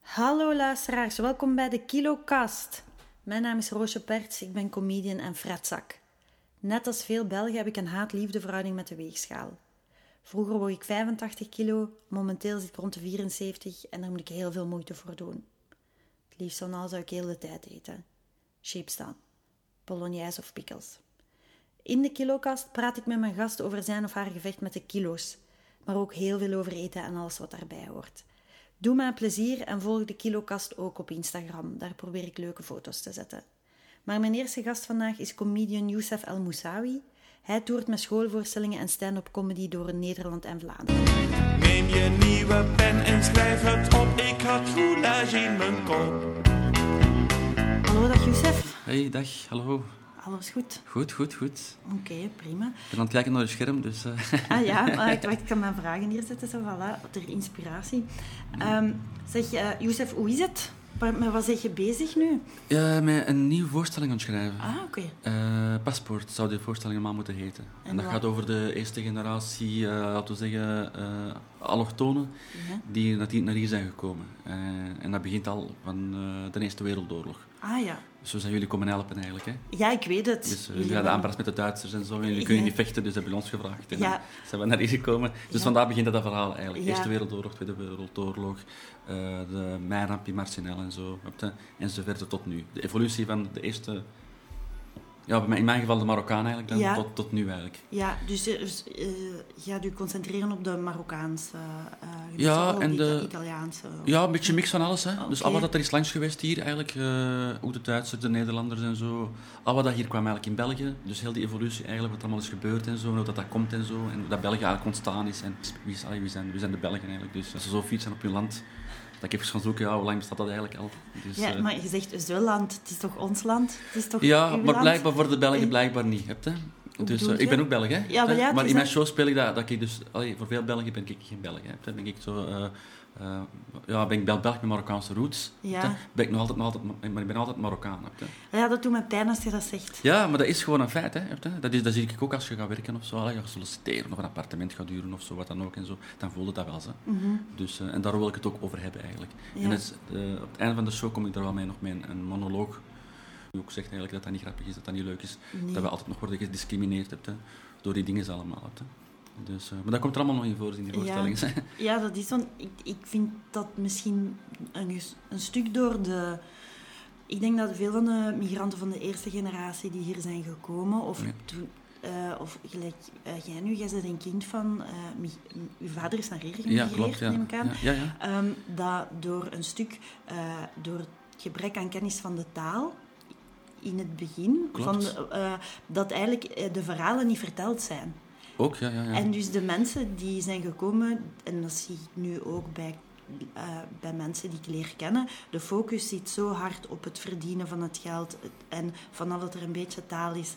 Hallo luisteraars, welkom bij de KiloCast. Mijn naam is Roosje Perts, ik ben comedian en fretzak. Net als veel Belgen heb ik een haat-liefde verhouding met de weegschaal. Vroeger woog ik 85 kilo, momenteel zit ik rond de 74 en daar moet ik heel veel moeite voor doen. Het liefst van al zou ik heel de tijd eten. Sheep staan, bolognese of pickles. In de KiloCast praat ik met mijn gast over zijn of haar gevecht met de kilo's, maar ook heel veel over eten en alles wat daarbij hoort. Doe mij een plezier en volg de KiloCast ook op Instagram. Daar probeer ik leuke foto's te zetten. Maar mijn eerste gast vandaag is comedian Youssef El Moussawi. Hij toert met schoolvoorstellingen en stand-up comedy door Nederland en Vlaanderen. Neem je nieuwe pen en schrijf het op. Ik had roulage in mijn kop. Hallo, dag Youssef. Hey, dag, hallo. Alles goed? Goed, goed, goed. Oké, prima. Ik ben aan het kijken naar je scherm, dus... eh, Ah ja, maar ik dacht, ik kan mijn vragen neerzetten, zo voilà, ter inspiratie. Ehm, zeg, eh Youssef, hoe is het? Waar- Met wat ben je bezig nu? ja, met een nieuwe voorstelling aan het schrijven. Ah, oké. Eh, Paspoort zou die voorstelling normaal moeten heten. En, dat wat? gaat over de eerste generatie, eh, laten we zeggen, eh allochtonen, Ja. die naar hier, naar hier zijn gekomen. Eh, en dat begint al van eh, de Eerste Wereldoorlog. Ah ja. Dus zo zijn jullie komen helpen eigenlijk, hè. Ja, ik weet het. Dus eh, Jullie jullie hadden waren- aanpraat met de Duitsers en zo, en jullie kunnen Ja. niet vechten, dus hebben jullie ons gevraagd. En Ja. dan zijn we naar hier gekomen. Ja. Dus vandaar begint dat verhaal eigenlijk. Ja. Eerste Wereldoorlog, Tweede Wereldoorlog, eh, de mijnramp in Marcinel en zo. snap je? En zo verder tot nu. De evolutie van de eerste... Ja, bij mij- in mijn geval de Marokkaan eigenlijk, dan Ja. tot, tot nu eigenlijk. Ja, dus eh, dus, eh, je gaat u concentreren op de Marokkaanse, eh, gebieden, Ja, ook en niet de- Italiaanse. Ja, een beetje mix van alles. Hè. Dus Ah, Oké. al wat dat er is langs geweest hier eigenlijk, eh, ook de Duitsers, de Nederlanders en zo. Al wat dat hier kwam eigenlijk in België. Dus heel die evolutie eigenlijk, wat er allemaal is gebeurd en zo, en hoe dat, dat komt en zo. En hoe dat België eigenlijk ontstaan is. En wie, is, allee, wie, zijn, wie zijn de Belgen eigenlijk? Dus als ze zo fiets zijn op hun land, dat ik even gaan zoeken, ja, hoe lang bestaat dat eigenlijk al? Dus, Ja, eh, maar je zegt Zuland, het is toch ons land? Het is toch ja, uw maar land? blijkbaar voor de Belgen Eh, blijkbaar niet. Hebt, hè? Dus, bedoel eh, ik je? ben ook Belg, hè? Ja, maar ja, het is in mijn een- show speel ik dat, dat ik dus... allee, voor veel Belgen ben ik geen Belg, hè? hebt, hè. Ben ik zo... eh, eh, ja, ben ik Bel- Belg met Marokkaanse roots. hebt, Ja. hè. Ben ik nog altijd, nog altijd, Ma- maar ik ben altijd Marokkaan, hebt, hè. Ja, dat doet me pijn als je dat zegt. Ja, maar dat is gewoon een feit, hè? hebt, hè. Dat, is, dat zie ik ook als je gaat werken of zo. Allee, je gaat solliciteren of een appartement gaat huren of zo, wat dan ook en zo. Dan voelde dat wel, hè. Dus, eh, en daar wil ik het ook over hebben, eigenlijk. Mhm. Ja. En het is, eh, op het einde van de show kom ik daar wel mee nog mee een, een monoloog die ook zegt eigenlijk dat dat niet grappig is, dat dat niet leuk is, Nee. dat we altijd nog worden gediscrimineerd hebt, hè, door die dingen allemaal. Hebt, hè. Dus, eh, maar dat komt er allemaal nog in voor in die voorstellingen. Ja, ja, dat is, want ik, ik vind dat misschien een, ges- een stuk door de... Ik denk dat veel van de migranten van de eerste generatie die hier zijn gekomen, of, Ja. toen- eh, of gelijk eh, jij nu, jij bent een kind van... eh, mi- uw vader is naar hier Ja, gemigreerd, klopt. Ja. neem ik Ja, aan. ja, ja. Ehm, dat door een stuk, eh, door het gebrek aan kennis van de taal in het begin, Klopt. van de- eh, dat eigenlijk eh, de verhalen niet verteld zijn. Ook, ja, ja, ja. En dus de mensen die zijn gekomen, en dat zie ik nu ook bij, eh, bij mensen die ik leer kennen, de focus zit zo hard op het verdienen van het geld. Het- En vanaf dat er een beetje taal is,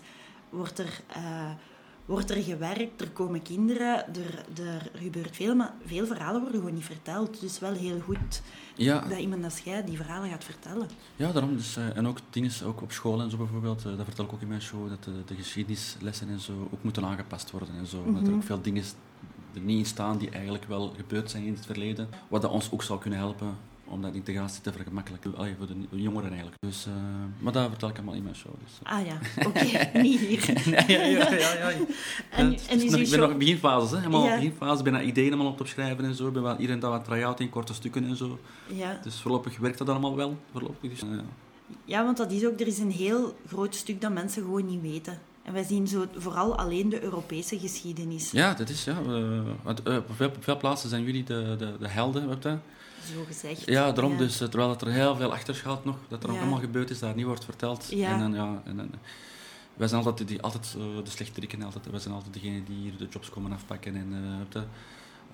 wordt er, eh, wordt er gewerkt, er komen kinderen, er, er gebeurt veel, maar veel verhalen worden gewoon niet verteld. Dus wel heel goed ja. dat iemand als jij die verhalen gaat vertellen. Ja, daarom. Dus, eh, en ook dingen ook op school en zo bijvoorbeeld, eh, dat vertel ik ook in mijn show, dat de, de geschiedenislessen en zo ook moeten aangepast worden en zo. Omdat Mhm. er ook veel dingen er niet in staan die eigenlijk wel gebeurd zijn in het verleden, wat dat ons ook zou kunnen helpen om dat integratie te vergemakkelijken, Allee, voor de ni- jongeren eigenlijk. Dus, eh, maar dat vertel ik allemaal in mijn show. Dus, eh. Ah ja, oké, niet hier. ja, ja, ja, ja. En- Ja, het is en is nog- uw ik ben show- nog in beginfases, hè. helemaal Ja. in beginfase, ben dat ideeën allemaal op het opschrijven en zo, Ik ben wel hier en daar wat try-out in, korte stukken en zo. Ja. Dus voorlopig werkt dat allemaal wel, voorlopig. Dus, eh, ja. Ja, want dat is ook, er is een heel groot stuk dat mensen gewoon niet weten. En wij zien zo vooral alleen de Europese geschiedenis, Ja, dat is, ja. eh, want eh, op, veel, op veel plaatsen zijn jullie de, de, de helden, weet je. zo gezegd. Ja, daarom dus. eh, Terwijl dat er heel veel achter schuilt nog, dat er nog Ja. allemaal gebeurd is, dat niet wordt verteld. Ja. En dan, ja, en dan, eh, wij zijn altijd, die, altijd eh, de slechteriken, altijd, wij zijn altijd degene die hier de jobs komen afpakken en eh, weet je,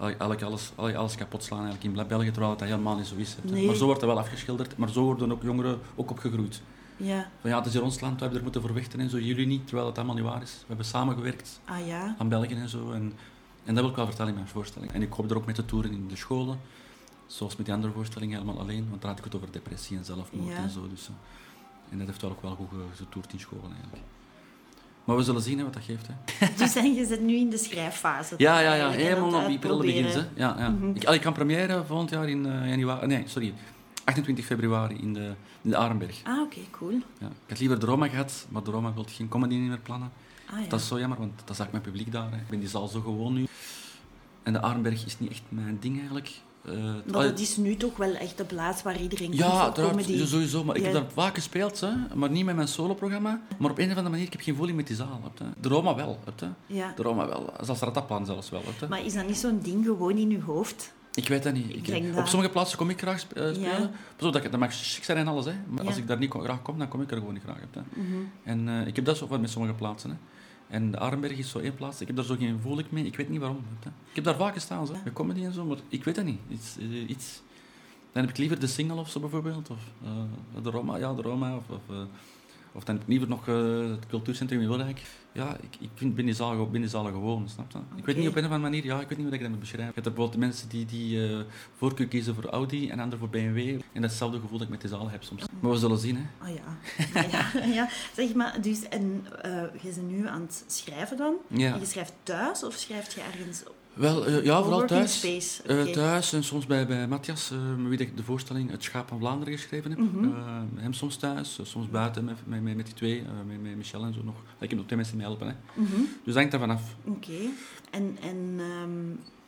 eigenlijk alles, eigenlijk alles kapot slaan eigenlijk in Bel- België, terwijl dat helemaal niet zo is. weet je. Nee. Maar zo wordt dat wel afgeschilderd, maar zo worden ook jongeren ook opgegroeid. Ja. Van ja, het is hier ons land, we hebben er moeten voor vechten en zo, jullie niet, terwijl dat allemaal niet waar is. We hebben samengewerkt Ah ja. aan België en zo. En, en dat wil ik wel vertellen in mijn voorstelling. En ik hoop er ook met de toeren in de scholen, zoals met die andere voorstellingen, helemaal alleen. Want daar had ik het over depressie en zelfmoord Ja. en zo. Dus, eh, en dat heeft wel ook wel goed ge- getoerd in scholen eigenlijk. Maar we zullen zien hè, wat dat geeft. Hè. Dus en je zit nu in de schrijffase. Ja, ja, ja. Eigenlijk, en Helemaal aan op het die prille uitproberen. begins. Hè. Ja, ja. Ik, ah, ik kan première volgend jaar in eh, januari... Nee, sorry. 28 februari in de, in de Arenberg. Ah, oké, cool. Ja. Ik had liever de Roma gehad, maar de Roma wil geen comedy meer plannen. Ah, ja. Dat is zo jammer, want dat is eigenlijk mijn publiek daar. hè. Ik ben die zaal zo gewoon nu. En de Arenberg is niet echt mijn ding eigenlijk. Eh, Maar allee, dat is nu toch wel echt de plaats waar iedereen komt ja, voor uiteraard, Dus comedy. ja, sowieso. Maar ik Ja. heb daar vaak gespeeld, hè, maar niet met mijn soloprogramma. Maar op een of andere manier, ik heb geen voeling met die zaal. Hebt, hè. De Roma wel. Hebt, hè. Ja. De Roma wel. Zelfs Rataplan zelfs wel. Hebt, hè. Maar is dat niet zo'n ding gewoon in uw hoofd? Ik weet dat niet. Ik- denk op dat- sommige plaatsen kom ik graag sp- eh, spelen. Pas op, dat, ik- dat mag chic zijn en alles. Hè. Maar Ja. als ik daar niet ko- graag kom, dan kom ik er gewoon niet graag. Hè. Mhm. En eh, ik heb dat zo wat met sommige plaatsen. Hè. En de Arenberg is zo één plaats. Ik heb daar zo geen voeling mee. Ik weet niet waarom. Hè. Ik heb daar vaak gestaan, zo, met comedy en zo, maar ik weet dat niet. Iets, eh, iets. Dan heb ik liever de single of zo bijvoorbeeld. Of eh, de Roma, ja, de Roma. Of, of, eh, of dan heb ik liever nog eh, het cultuurcentrum in Wilrijk. Ja, ik, ik vind binnen zaal, binnen die zalen gewoon, snap je? Ik weet Oké. niet op een of andere manier, ja, ik weet niet hoe ik dat moet beschrijven. Je hebt er bijvoorbeeld mensen die, die eh, voorkeur kiezen voor Audi en anderen voor BMW. En dat is hetzelfde gevoel dat ik met die zaal heb soms. Maar we zullen zien, hè. Ah ja. Ah, ja, ja. Zeg maar, dus en, eh, je bent nu aan het schrijven dan? Ja. En je schrijft thuis of schrijf je ergens op? Wel, eh, ja, vooral Coworking thuis. space, Eh, oké. thuis en soms bij, bij Matthias, eh, met wie dat ik de voorstelling Het Schaap van Vlaanderen geschreven heb. Mhm. Eh, hem soms thuis, eh, soms buiten met, met, met, met die twee, eh, met, met Michel en zo nog. Ik heb nog twee mensen die mij helpen. Hè. Dus dat hangt daarvan af. Oké. En, en ehm,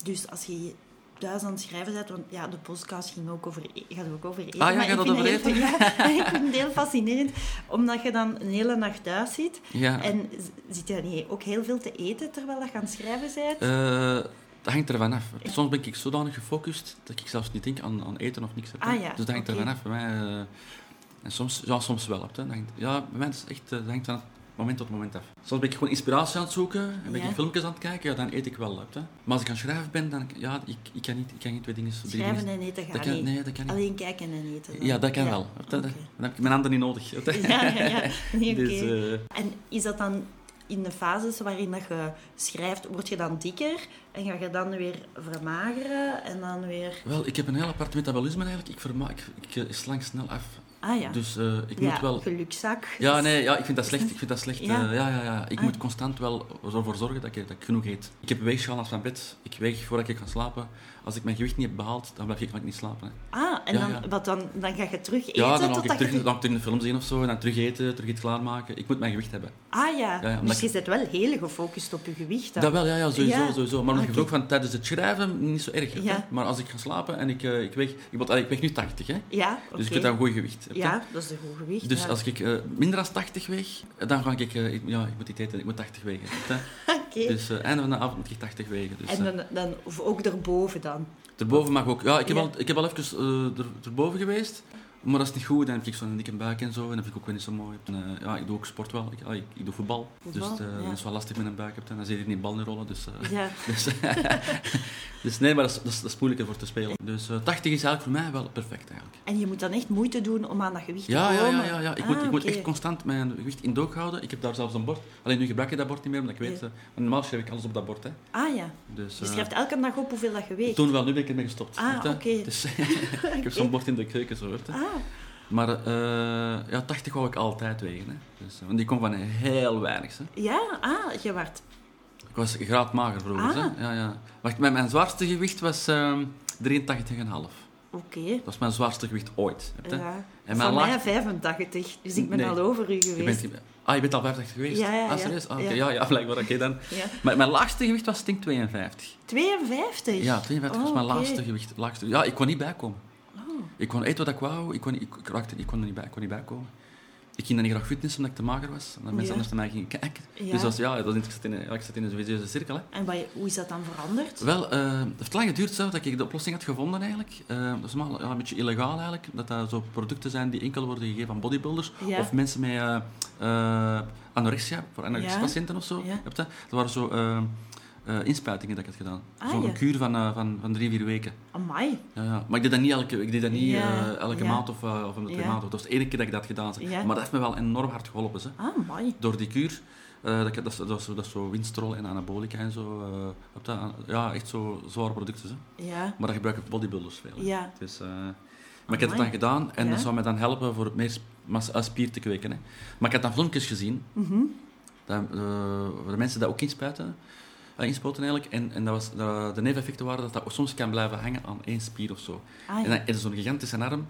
dus als je thuis aan het schrijven bent, want ja, de podcast ging ook over, e- gaat ook over eten. Ah ja, maar gaat ik dat vind over heel- ja, ik vind het heel fascinerend, omdat je dan een hele nacht thuis zit. Ja. En z- zit je dan niet ook heel veel te eten terwijl je aan het schrijven bent? Eh, dat hangt ervan af. Soms ben ik zodanig gefocust dat ik zelfs niet denk aan, aan eten of niks. Ah, ja, Dus dat hangt oké. ervan af. Bij mij, eh, en soms, ja, soms wel. Hè. Dat hangt, ja, bij mij is het echt, eh, dat hangt van het moment tot moment af. Soms ben ik gewoon inspiratie aan het zoeken en ben Ja. ik filmpjes aan het kijken, ja, dan eet ik wel. Hè. Maar als ik aan het schrijven ben, dan ja, ik, ik kan, niet, ik kan geen twee dingen... drie schrijven dingen- en eten gaat dat kan- niet. Nee, dat kan niet. Alleen kijken en eten. dan. Ja, dat kan wel. Hè. Dat- oké. Dan heb ik mijn handen niet nodig. Hè. Ja, ja, ja. Nee, oké. Dus, eh, En is dat dan in de fases waarin dat je schrijft, word je dan dikker en ga je dan weer vermageren en dan weer... wel, ik heb een heel apart metabolisme eigenlijk. Ik, verma- ik, ik eh, slank snel af. Ah ja, Dus eh, ik moet ja, wel... gelukzak. Ja, nee, ja, ik vind dat slecht. Ik vind dat slecht. eh, Ja. Ja, ja, ja, Ik Ah. moet constant wel ervoor zorgen dat ik, dat ik genoeg eet. Ik heb een weegschaal naast mijn bed. Ik weeg voordat ik ga slapen. Als ik mijn gewicht niet heb behaald, dan blijf ik vaak niet slapen. hè. Ah, en Ja, dan, ja. Wat dan, dan ga je terug eten Ja, dan totdat hou ik terug, je... dan hou ik terug een film zien of zo. En dan terug eten, terug iets klaarmaken. Ik moet mijn gewicht hebben. Ah ja, ja, omdat dus je ik- zit wel heel gefocust op je gewicht. dan. Dat wel, ja, ja sowieso, Ja. sowieso. Maar Ah, mijn oké. gebruik van tijdens het schrijven, niet zo erg. hè. Ja. Maar als ik ga slapen en ik, eh, ik, weeg, ik, wil- eh, ik weeg nu 80, hè. Ja, oké. Dus ik heb dat een goed gewicht. hè. Ja, dat is een goed gewicht. Dus ja. als ik eh, minder dan 80 weeg, dan ga ik... eh, ik- ja, ik moet niet eten, ik moet 80 wegen. hè. Oké. Dus eh einde van de avond moet ik 80 wegen. Dus, en dan, dan, of ook daarboven dan. Erboven mag ook. Ja, ik heb, Ja. Al, ik heb al even eh, er, erboven geweest. Maar dat is niet goed. Dan heb ik zo'n dikke buik en zo. En dat vind ik ook weer niet zo mooi. En, eh, ja, ik doe ook sport wel. Ik, ah, ik, ik doe voetbal. Voetbal, dus eh, ja. dat is wel lastig met een buik. hebt. En dan zit je in die bal niet rollen. Dus, eh, Ja. dus, dus nee, maar dat is, dat, is, dat is moeilijker voor te spelen. Dus eh, 80 is eigenlijk voor mij wel perfect eigenlijk. En je moet dan echt moeite doen om aan dat gewicht Ja, te ja, komen. ja, ja, ja. Ik, moet, Ah, ik moet oké. echt constant mijn gewicht in doog houden. Ik heb daar zelfs een bord. Alleen nu gebruik ik dat bord niet meer, omdat ik weet... Ja. eh, normaal schrijf ik alles op dat bord. Hè. Ah ja, Dus, je eh, schrijft elke dag op hoeveel dat je weegt. Toen wel, nu ben ik ermee gestopt. Ah, Weet je? oké. Dus, ik heb zo'n bord in de keuken, zo hoort. hè. Ah, Maar eh, ja, 80 wou ik altijd wegen. Hè. Dus, eh, want die komt van heel weinig. Hè. ja, ah, je werd Ik was graadmager vroeger. Ah. Hè. Ja, ja. Wacht, mijn, mijn zwaarste gewicht was ehm 83,5. Oké. Dat was mijn zwaarste gewicht ooit. weet je. Ja. En Van mijn laag- mij 85, dus ik ben Nee. al over u Je geweest. bent, ah, je bent al 50 geweest? Ja, ja, Ah, ja. serieus? Ah, oké. Ja. ja. ja, blijkbaar. Oké dan. Ja. Maar mijn laagste gewicht was denk ik 52. 52? Ja, 52 was Oh, mijn oké. Oh. laagste gewicht. Laagste, ja, ik kon niet bijkomen. Ik kon eten wat ik wou, ik kon, niet- ik, ik, raakte, ik, kon er niet bij, ik kon niet bijkomen. Ik ging dan niet graag fitnessen omdat ik te mager was. Omdat mensen Ja. anders naar mij gingen kijken. Ja. Dus dat was, ja, dat was, ik zat in, een- ja, ik zat in een vicieuze cirkel. Hè. En wat, hoe is dat dan veranderd? Wel, eh, het heeft lang geduurd zelf dat ik de oplossing had gevonden eigenlijk. Eh, dat is allemaal ja, een beetje illegaal eigenlijk. Dat dat zo producten zijn die enkel worden gegeven aan bodybuilders. Ja. Of mensen met eh, eh, anorexia, voor anorexia-patiënten of zo. Ja. Heb je dat? dat waren zo eh, eh, inspuitingen dat ik had gedaan. Ah, Zo'n ja. kuur van, eh, van, van drie, vier weken. Amai. Ja, ja. Maar ik deed dat niet elke, ik deed dat niet, Ja, eh, elke ja. maand of, eh, of om de twee Ja. maanden. Dat was de enige keer dat ik dat gedaan heb. Ja. Maar dat heeft me wel enorm hard geholpen. Hè. Ah, amai. Door die kuur, eh, dat, ik- dat, is- dat, is zo- dat is zo winstrol en anabolica en zo. eh, op dat, ja, echt zo zware producten. Hè. Ja. Maar dat gebruiken bodybuilders veel. hè. Ja. Dus, eh, maar ik heb het dan Amai. gedaan en Ja. dat zou mij dan helpen voor meer sp- massa- eh, spier te kweken. Hè. Maar ik had dan filmpjes gezien, Mhm. dat, eh, waar de mensen dat ook inspuiten. eh, Inspoten eigenlijk, en, en dat was, de, de neveneffecten waren dat dat soms kan blijven hangen aan één spier of zo. Ah, ja. En dan is zo'n gigantische arm,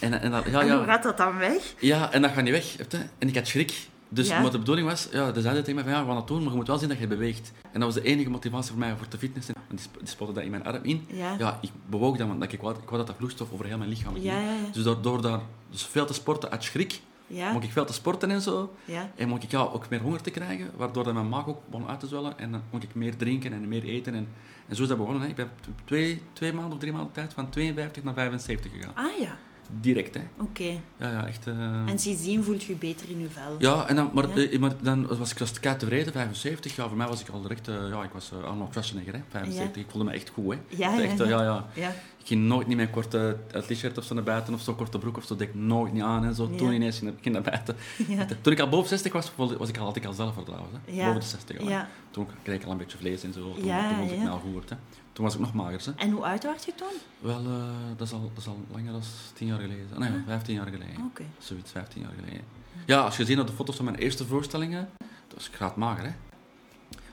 En, en dat, ja, En hoe ja, gaat dat dan weg? ja, en dat gaat niet weg. Heb je? En ik had schrik. Dus Ja. wat de bedoeling was, ja, ze zeiden tegen mij van ja, we gaan dat doen, maar je moet wel zien dat je beweegt. En dat was de enige motivatie voor mij voor te fitnessen. En die, sp- die spotte dat in mijn arm in. Ja. ik bewoog dat, want ik wou, ik wou dat dat vloeistof over heel mijn lichaam ging. Ja, ja, ja. Dus door, door daar dus veel te sporten uit schrik, Ja. mocht ik veel te sporten en zo. Ja. En mocht ik ja, ook meer honger te krijgen, waardoor dat mijn maag ook begon uit te zwellen. En dan mocht ik meer drinken en meer eten. En, en zo is dat begonnen. Hè. Ik ben op t- twee, twee maanden of drie maanden tijd van 52 naar 75 gegaan. Ah ja, Direct, hè. oké. Ja, ja, echt... eh, En sindsdien voelt je je beter in je vel. Ja, en dan, maar, Ja. eh, maar dan was ik als kei tevreden, 75. Ja, voor mij was ik al direct... eh, ja, ik was eh, Arnold Schwarzenegger, hè. 75. Ik voelde me echt goed, hè. Ja, Ah, ja, echt, eh, ja. ja, ja. Ja. Ik ging nooit niet met een korte eh, t-shirt of zo naar buiten, of zo'n korte broek of zo, deed ik nooit niet aan en zo. Toen Ja. ineens ging ik naar buiten. Ja. Toen ik al boven 60 was, voelde- was ik al, had ik al zelfvertrouwen. Hè? Ja. Boven de 60 al. hè. Ja. Toen kreeg ik al een beetje vlees en zo. Toen, Ja, toen was ik ja. me al goed. Hè? Toen was ik nog mager. Hè? En hoe oud was je toen? Wel, eh, dat, is al, dat is al langer dan 10 jaar geleden. Ah, nee, 15 jaar geleden. Oké. Zoiets, 15 jaar geleden. Ja, als je ziet op de foto's van mijn eerste voorstellingen, dat was ik graad mager. Hè?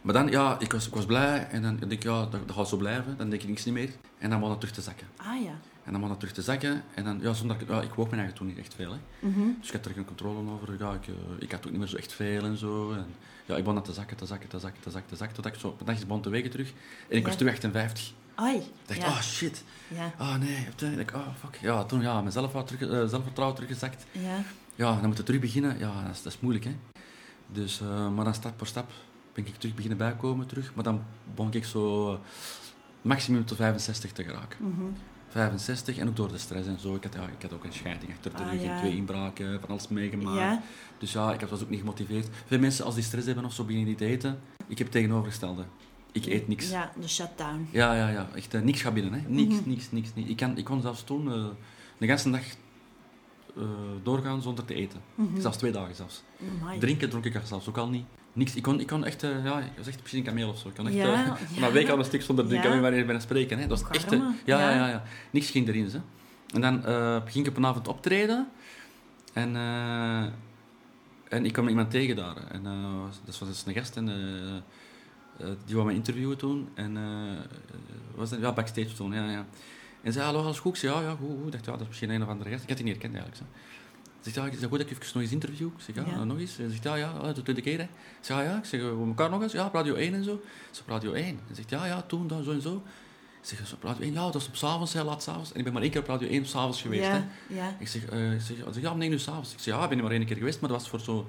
Maar dan, ja, ik was, ik was blij en dan denk ik, ja, dat, dat gaat zo blijven. Dan denk ik niks niet meer. En dan begon dat terug te zakken. Ah ja. En dan begon dat terug te zakken. En dan, ja, zonder, dat ik- ja, ik woog mijn eigen toen niet echt veel. Hè. Mhm. Dus ik had er geen controle over. Ja, ik, eh, ik had ook niet meer zo echt veel en zo. En, ja, ik begon dat te zakken, te zakken, te zakken, te zakken, te zakken. Totdat ik zo op een dag is begon te wegen terug. En ik Ja. was terug 58. Ai. Ik dacht, ja. oh shit. Ja. Oh nee. Ik dacht, oh fuck. Ja, toen ja, mijn zelfvertrouwen terug, eh, zelfvertrouwen teruggezakt. Ja. Ja, dan moet je terug beginnen. Ja, dat is, dat is moeilijk hè. Dus, eh, maar dan stap voor stap ben ik terug beginnen bijkomen terug. Maar dan begon ik zo eh, maximum tot 65 te geraken. Mhm. 65 en ook door de stress en zo. Ik had, ja, ik had ook een scheiding achter de Ah, rug en ja. twee inbraken, van alles meegemaakt. Ja. Dus ja, ik was ook niet gemotiveerd. Veel mensen als die stress hebben of zo beginnen niet te eten. Ik heb tegenovergestelde. Ik eet niks. Ja, de shutdown. Ja, ja, ja. Echt eh, niks gaat binnen, hè. Niks, Mhm. niks, niks, niks. Ik, kan, ik kon zelfs toen eh, de ganse dag eh, doorgaan zonder te eten. Mhm. Zelfs twee dagen zelfs. Amai. Drinken dronk ik er zelfs ook al niet. Niks. Ik kon, ik kon echt, eh, ja, ik was echt misschien een kameel of zo. Ik kon echt Ja, eh, ja. van een week al een stuk zonder drinken Ja. wanneer ik ben aan het spreken. Hè. Dat was echt, eh, Karma. ja, ja. Ja. Ja, ja, Niks ging erin, hè. En dan eh, ging ik op een avond optreden. En, eh, en ik kwam iemand tegen daar. En, eh, dat was dus een gast. En, eh, eh, die wou me interviewen toen. En eh, eh, was dat? Ja, backstage toen, ja, ja. En zei, hallo, alles goed? Ik zei, ja, ja, goed, goed. Ik dacht, ja, dat is misschien een of andere gast. Ik had die niet herkend eigenlijk. Zo. Zegt, ja, is dat goed dat ik even nog eens interview? Ik zeg, ja, nou, Ja. nog eens. Hij zegt, ja, ja, ah, de tweede keer, hè. Ik zeg, ja, ja. Ik zeg, we elkaar nog eens? Ja, op Radio 1 en zo. Ik zeg, op Radio 1. Hij zegt, ja, ja, toen, dan, zo en zo. Ik zeg, is op Radio 1? Ja, dat is op s'avonds, heel laat s'avonds. En ik ben maar één keer op Radio 1 s'avonds geweest, ja. hè. Ja. Ik zeg, eh, ik zeg, hij zegt, ja, om 9 uur s'avonds. Ik zeg, ja, ik ben er maar één keer geweest, maar dat was voor zo'n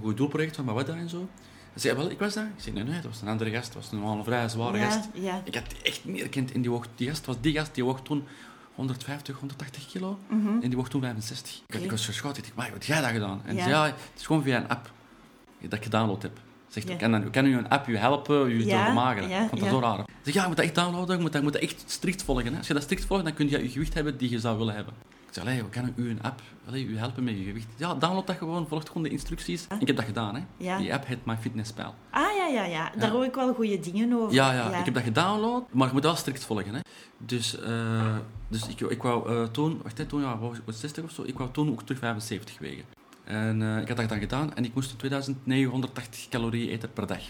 goed doelproject van Mawedda en zo. Hij zegt, wel, ik was daar. Ik zeg, nee, nee, dat was een andere gast. Dat was een, een vrij zware Ja, gast. ja. Ik had die echt niet herkend. En die, woog, die gast was die gast, die woog toen 150, 180 kilo. Mhm. En die woog toen 65. Ik, Oké. ik was verschoten. Ik dacht, "Wai, wat heb jij dat gedaan? En Ja. ja. zei, ja, het is gewoon via een app dat ik gedownload heb. Zegt, Ja. ik kan, dan, kan u een app je helpen, je Ja, ja, vermageren. ja, Ik vond dat ja. zo raar. Ik Zeg, ja, je moet dat echt downloaden, je moet dat, je moet dat echt strikt volgen. Hè. Als je dat strikt volgt, dan kun je je gewicht hebben die je zou willen hebben. Ik zeg, allee, we kunnen u een app allee, u helpen met je gewicht. Ja, download dat gewoon, volg gewoon de instructies. Ik heb dat gedaan, hè. Ja. Die app heet MyFitnessPal. Ah ja, ja, ja. Daar Ja. hoor ik wel goede dingen over. Ja, ja, ik heb dat gedownload, maar je moet wel strikt volgen. Hè. Dus, eh, dus ik, ik wou eh, toen, wacht, hè, toen ja, was ik 60 of zo, ik wou toen ook terug 75 wegen. En eh, ik had dat dan gedaan en ik moest 2980 calorieën eten per dag.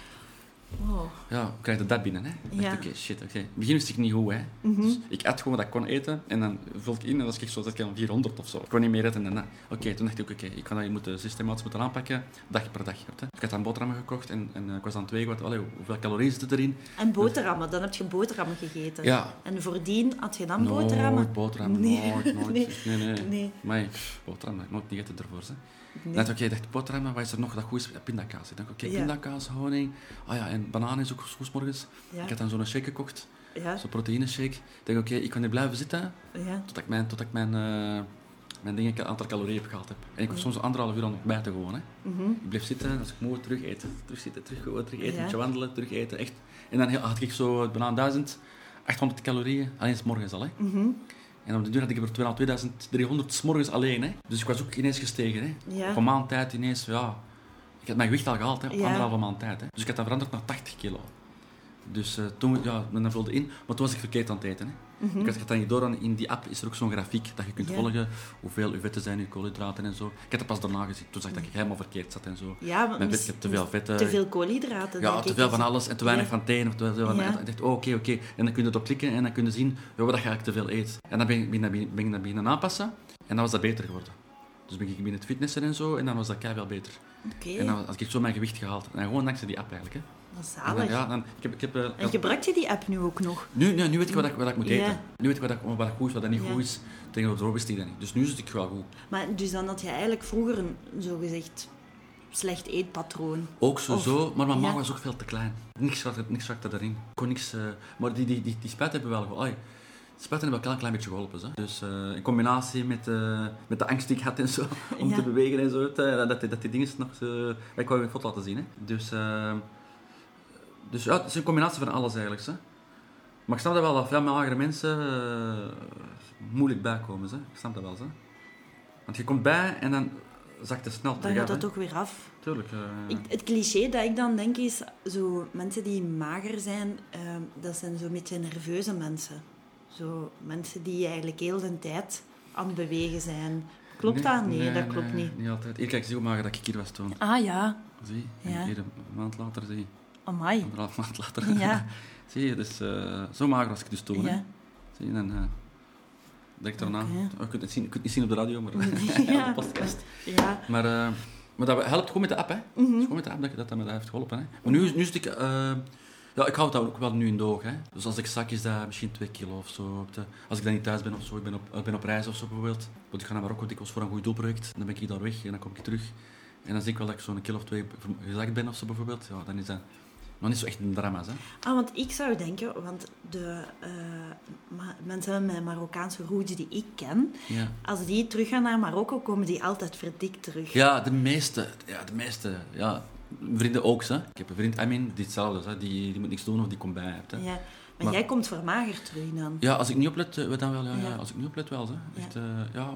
Wow. Ja, hoe krijg je dat binnen? Hè? Ik Ja. dacht, Oké, shit, oké. In het begin wist ik niet hoe, hè. Dus ik at gewoon wat ik kon eten en dan vulde ik in en was ik zo, dat ik aan 400 of zo. Ik kon niet meer eten en dan, oké, toen dacht ik, oké, ik kan dat hier moeten systematisch moeten aanpakken, dag per dag. weet je. Ik had dan boterhammen gekocht en, en eh, ik was aan het wegen, wat, allee, hoeveel calorieën zitten erin? En boterhammen. Dan heb je boterhammen gegeten. Ja. En voordien had je dan boterhammen? Nooit boterhammen, Nee. nooit, nooit. Dus Nee. Nee, nee. Nee. Maar ja, pff, boterhammen, heb ik nooit niet eten ervoor. Hè. Net oké, ik dacht boterhammen, wat is er nog dat goed is? Ja, pindakaas. Ik dacht, oké, Ja. pindakaas, honing. Ah ja, en banaan is ook goed 's morgens. Ja. Ik had dan zo'n shake gekocht, Ja. zo'n proteïneshake. Ik dacht, oké, ik kan hier blijven zitten Ja. tot ik mijn, tot ik mijn, eh, mijn dingen, aantal calorieën heb gehad heb. En ik was soms anderhalf uur aan het ontbijten gewoon. Hè. Mhm, Ik bleef zitten, als ik moe werd, terug eten. Terug zitten, terug, gewoon terug eten, Ja. een beetje wandelen, terug eten. Echt. En dan had ik zo bijna 1800 calorieën, alleen 's morgens al. Hè. mhm. En op de duur had ik er bijna 2300 's morgens alleen. Hè. Dus ik was ook ineens gestegen. Hè. Ja. Op een maand tijd ineens, ja. Ik had mijn gewicht al gehaald, hè, op Ja. anderhalve maand tijd. Hè. Dus ik had dat veranderd naar 80 kilo. Dus eh, toen, ja, men dat vulde in. Maar toen was ik verkeerd aan het eten. Hè. Mhm. Ik had het dan niet door, aan- in die app is er ook zo'n grafiek dat je kunt volgen hoeveel uw vetten zijn, uw koolhydraten en zo. Ik heb dat pas daarna gezien. Toen zag ik dat ik helemaal verkeerd zat en zo. Ja, want Mijn bed, mis- je hebt te veel vetten. Te veel koolhydraten, Ja, denk te ik. veel van alles en te weinig Ja. van het een of te veel van Ja. het. Ik dacht, oh, oké, oké. En dan kun je erop klikken en dan kun je zien ja, wat je eigenlijk te veel eet. En dan ben ik, ben, ik dat- ben, ik dat beginnen aanpassen en dan was dat beter geworden. Dus ben ik binnen het fitnessen en zo en dan was dat keihard beter. Oké, En dan had ik zo mijn gewicht gehaald. En gewoon dankzij die app eigenlijk. Hè. dat is En zalig. dan, ja, dan, ik heb, ik heb, eh, En gebruik je die app nu ook nog? nu, nu, nu weet ik wat ik, wat ik moet Ja. eten. Nu weet ik wat, ik, wat goed is, wat dat niet Ja. goed is. Tegenover wist ik dat niet. Dus nu zit ik wel goed. Maar dus dan had je eigenlijk vroeger een zogezegd slecht eetpatroon. Ook zo, zo, maar mijn ja. maag was ook veel te klein. Niks zakte, niks zakte daarin. Ik Kon niks, eh, maar die, die, die, die spuiten hebben wel geholpen. Spuiten hebben wel een klein beetje geholpen. Hè. Dus eh, in combinatie met, eh, met de angst die ik had en zo, om Ja. te bewegen en zo, te- dat, die- dat die dingen nog... te- ik wou je een foto laten zien. Hè. Dus, eh, dus ja, het is een combinatie van alles eigenlijk. Hè. Maar ik snap dat wel, dat veel magere mensen eh, moeilijk bijkomen. Hè. Ik snap dat wel. Hè. Want je komt bij en dan zakt het snel Dan terug gaat af, dat hè. ook weer af. Tuurlijk. eh. Ik, het cliché dat ik dan denk is, zo, mensen die mager zijn, ehm, dat zijn zo'n beetje nerveuze mensen. Zo, mensen die eigenlijk heel de tijd aan het bewegen zijn. Klopt Nee, dat? Nee, dat klopt niet. Niet altijd. Hier, kijk, zie hoe mager dat ik hier was toen. Ah ja, Zie, Ja. en hier een maand later, zie. amai. Anderhalf maand later. Ja. zie je, dus eh, zo mager was ik dus toen. hè. Ja. Zie je, dan eh denk ik daarna. Oké. Oh, je, kunt het zien, je kunt het niet zien op de radio, maar Ja. op de podcast. Ja, Maar, eh, maar dat helpt gewoon met de app, hè. Het is gewoon met de app dat je dat, dat me dat heeft geholpen, hè. Maar nu, is- nu zit ik... eh, ja, ik houd dat ook wel nu in de oog, hè. Dus als ik zak, is dat misschien 2 kilo of zo. Op de- als ik dan niet thuis ben of zo, ik ben op, ik ben op reis of zo bijvoorbeeld. Want ik ga naar Marokko dikwijls voor een goed doelproject. Dan ben ik daar weg en dan kom ik terug. En dan zie ik wel dat ik zo'n kilo of twee gezakt ben of zo bijvoorbeeld. Ja, dan is dat nog niet zo echt een drama's, hè. Ah, want ik zou denken, want de eh, Ma- mensen met Marokkaanse roots die ik ken, Ja. als die teruggaan naar Marokko, komen die altijd verdikt terug. Ja, de meeste. Ja, de meeste. Ja, vrienden ook, hè. Ik heb een vriend, Amin, die hetzelfde is, hè. Die, die moet niks doen of die komt bij, hè. Ja. Maar, Maar- jij komt vermagerd terug dan. Ja, als ik niet oplet, eh, dan wel. Ja, ja. Ja. Als ik niet oplet, wel. Hè. Echt, Ja. eh, ja.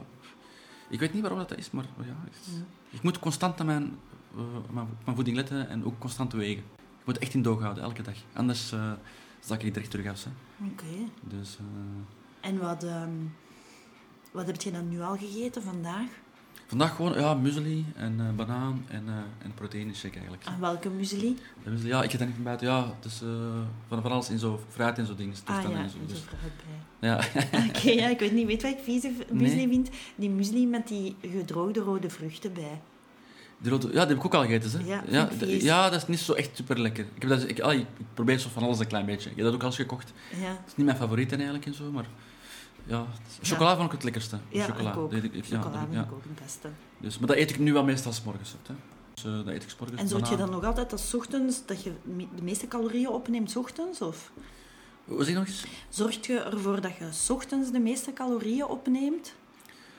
Ik weet niet waarom dat is, maar ja, het- ik moet constant aan mijn, eh, mijn, mijn voeding letten en ook constant wegen. Ik moet echt in doog houden, elke dag. Anders eh zak ik direct terug af. Hè. Oké. Dus, eh, En wat, ehm, wat heb je dan nu al gegeten vandaag? vandaag gewoon ja, muesli en eh, banaan en, eh, en proteïne shake eigenlijk. Aan Ah, welke muesli? En muesli, ja, ik heb dat niet van buiten. Ja, het is eh, van, van alles in zo fruit en zo dingen. Ah toestanden ja, en zo. en zo Dus, fruit bij. ja. Oké, ja, ik weet niet, weet wat ik vieze v- muesli Nee. vind? Die muesli met die gedroogde rode vruchten bij. Die rode- ja, die heb ik ook al gegeten. Hè? Ja, ja, vind ik d- vies. ja, dat is niet zo echt super lekker. Ik, heb dat, ik, ah, ik ik probeer zo van alles een klein beetje. Ik heb dat ook al eens gekocht. Het Ja. is niet mijn favoriet dan eigenlijk en zo, maar ja, het is- chocola vond ik het lekkerste. Ja, chocola. ik ook. Dat eet ik- ja, Chocola dat- vind ja. ik ook het beste. Dus, maar dat eet ik nu wel meestal s'morgens. Hè? Dus eh, dat eet ik s'morgens. En zorg je dan Banaan. nog altijd dat 's ochtends dat je me- de meeste calorieën opneemt 's ochtends? Of Hoe zeg je nog eens? zorg je ervoor dat je 's ochtends de meeste calorieën opneemt?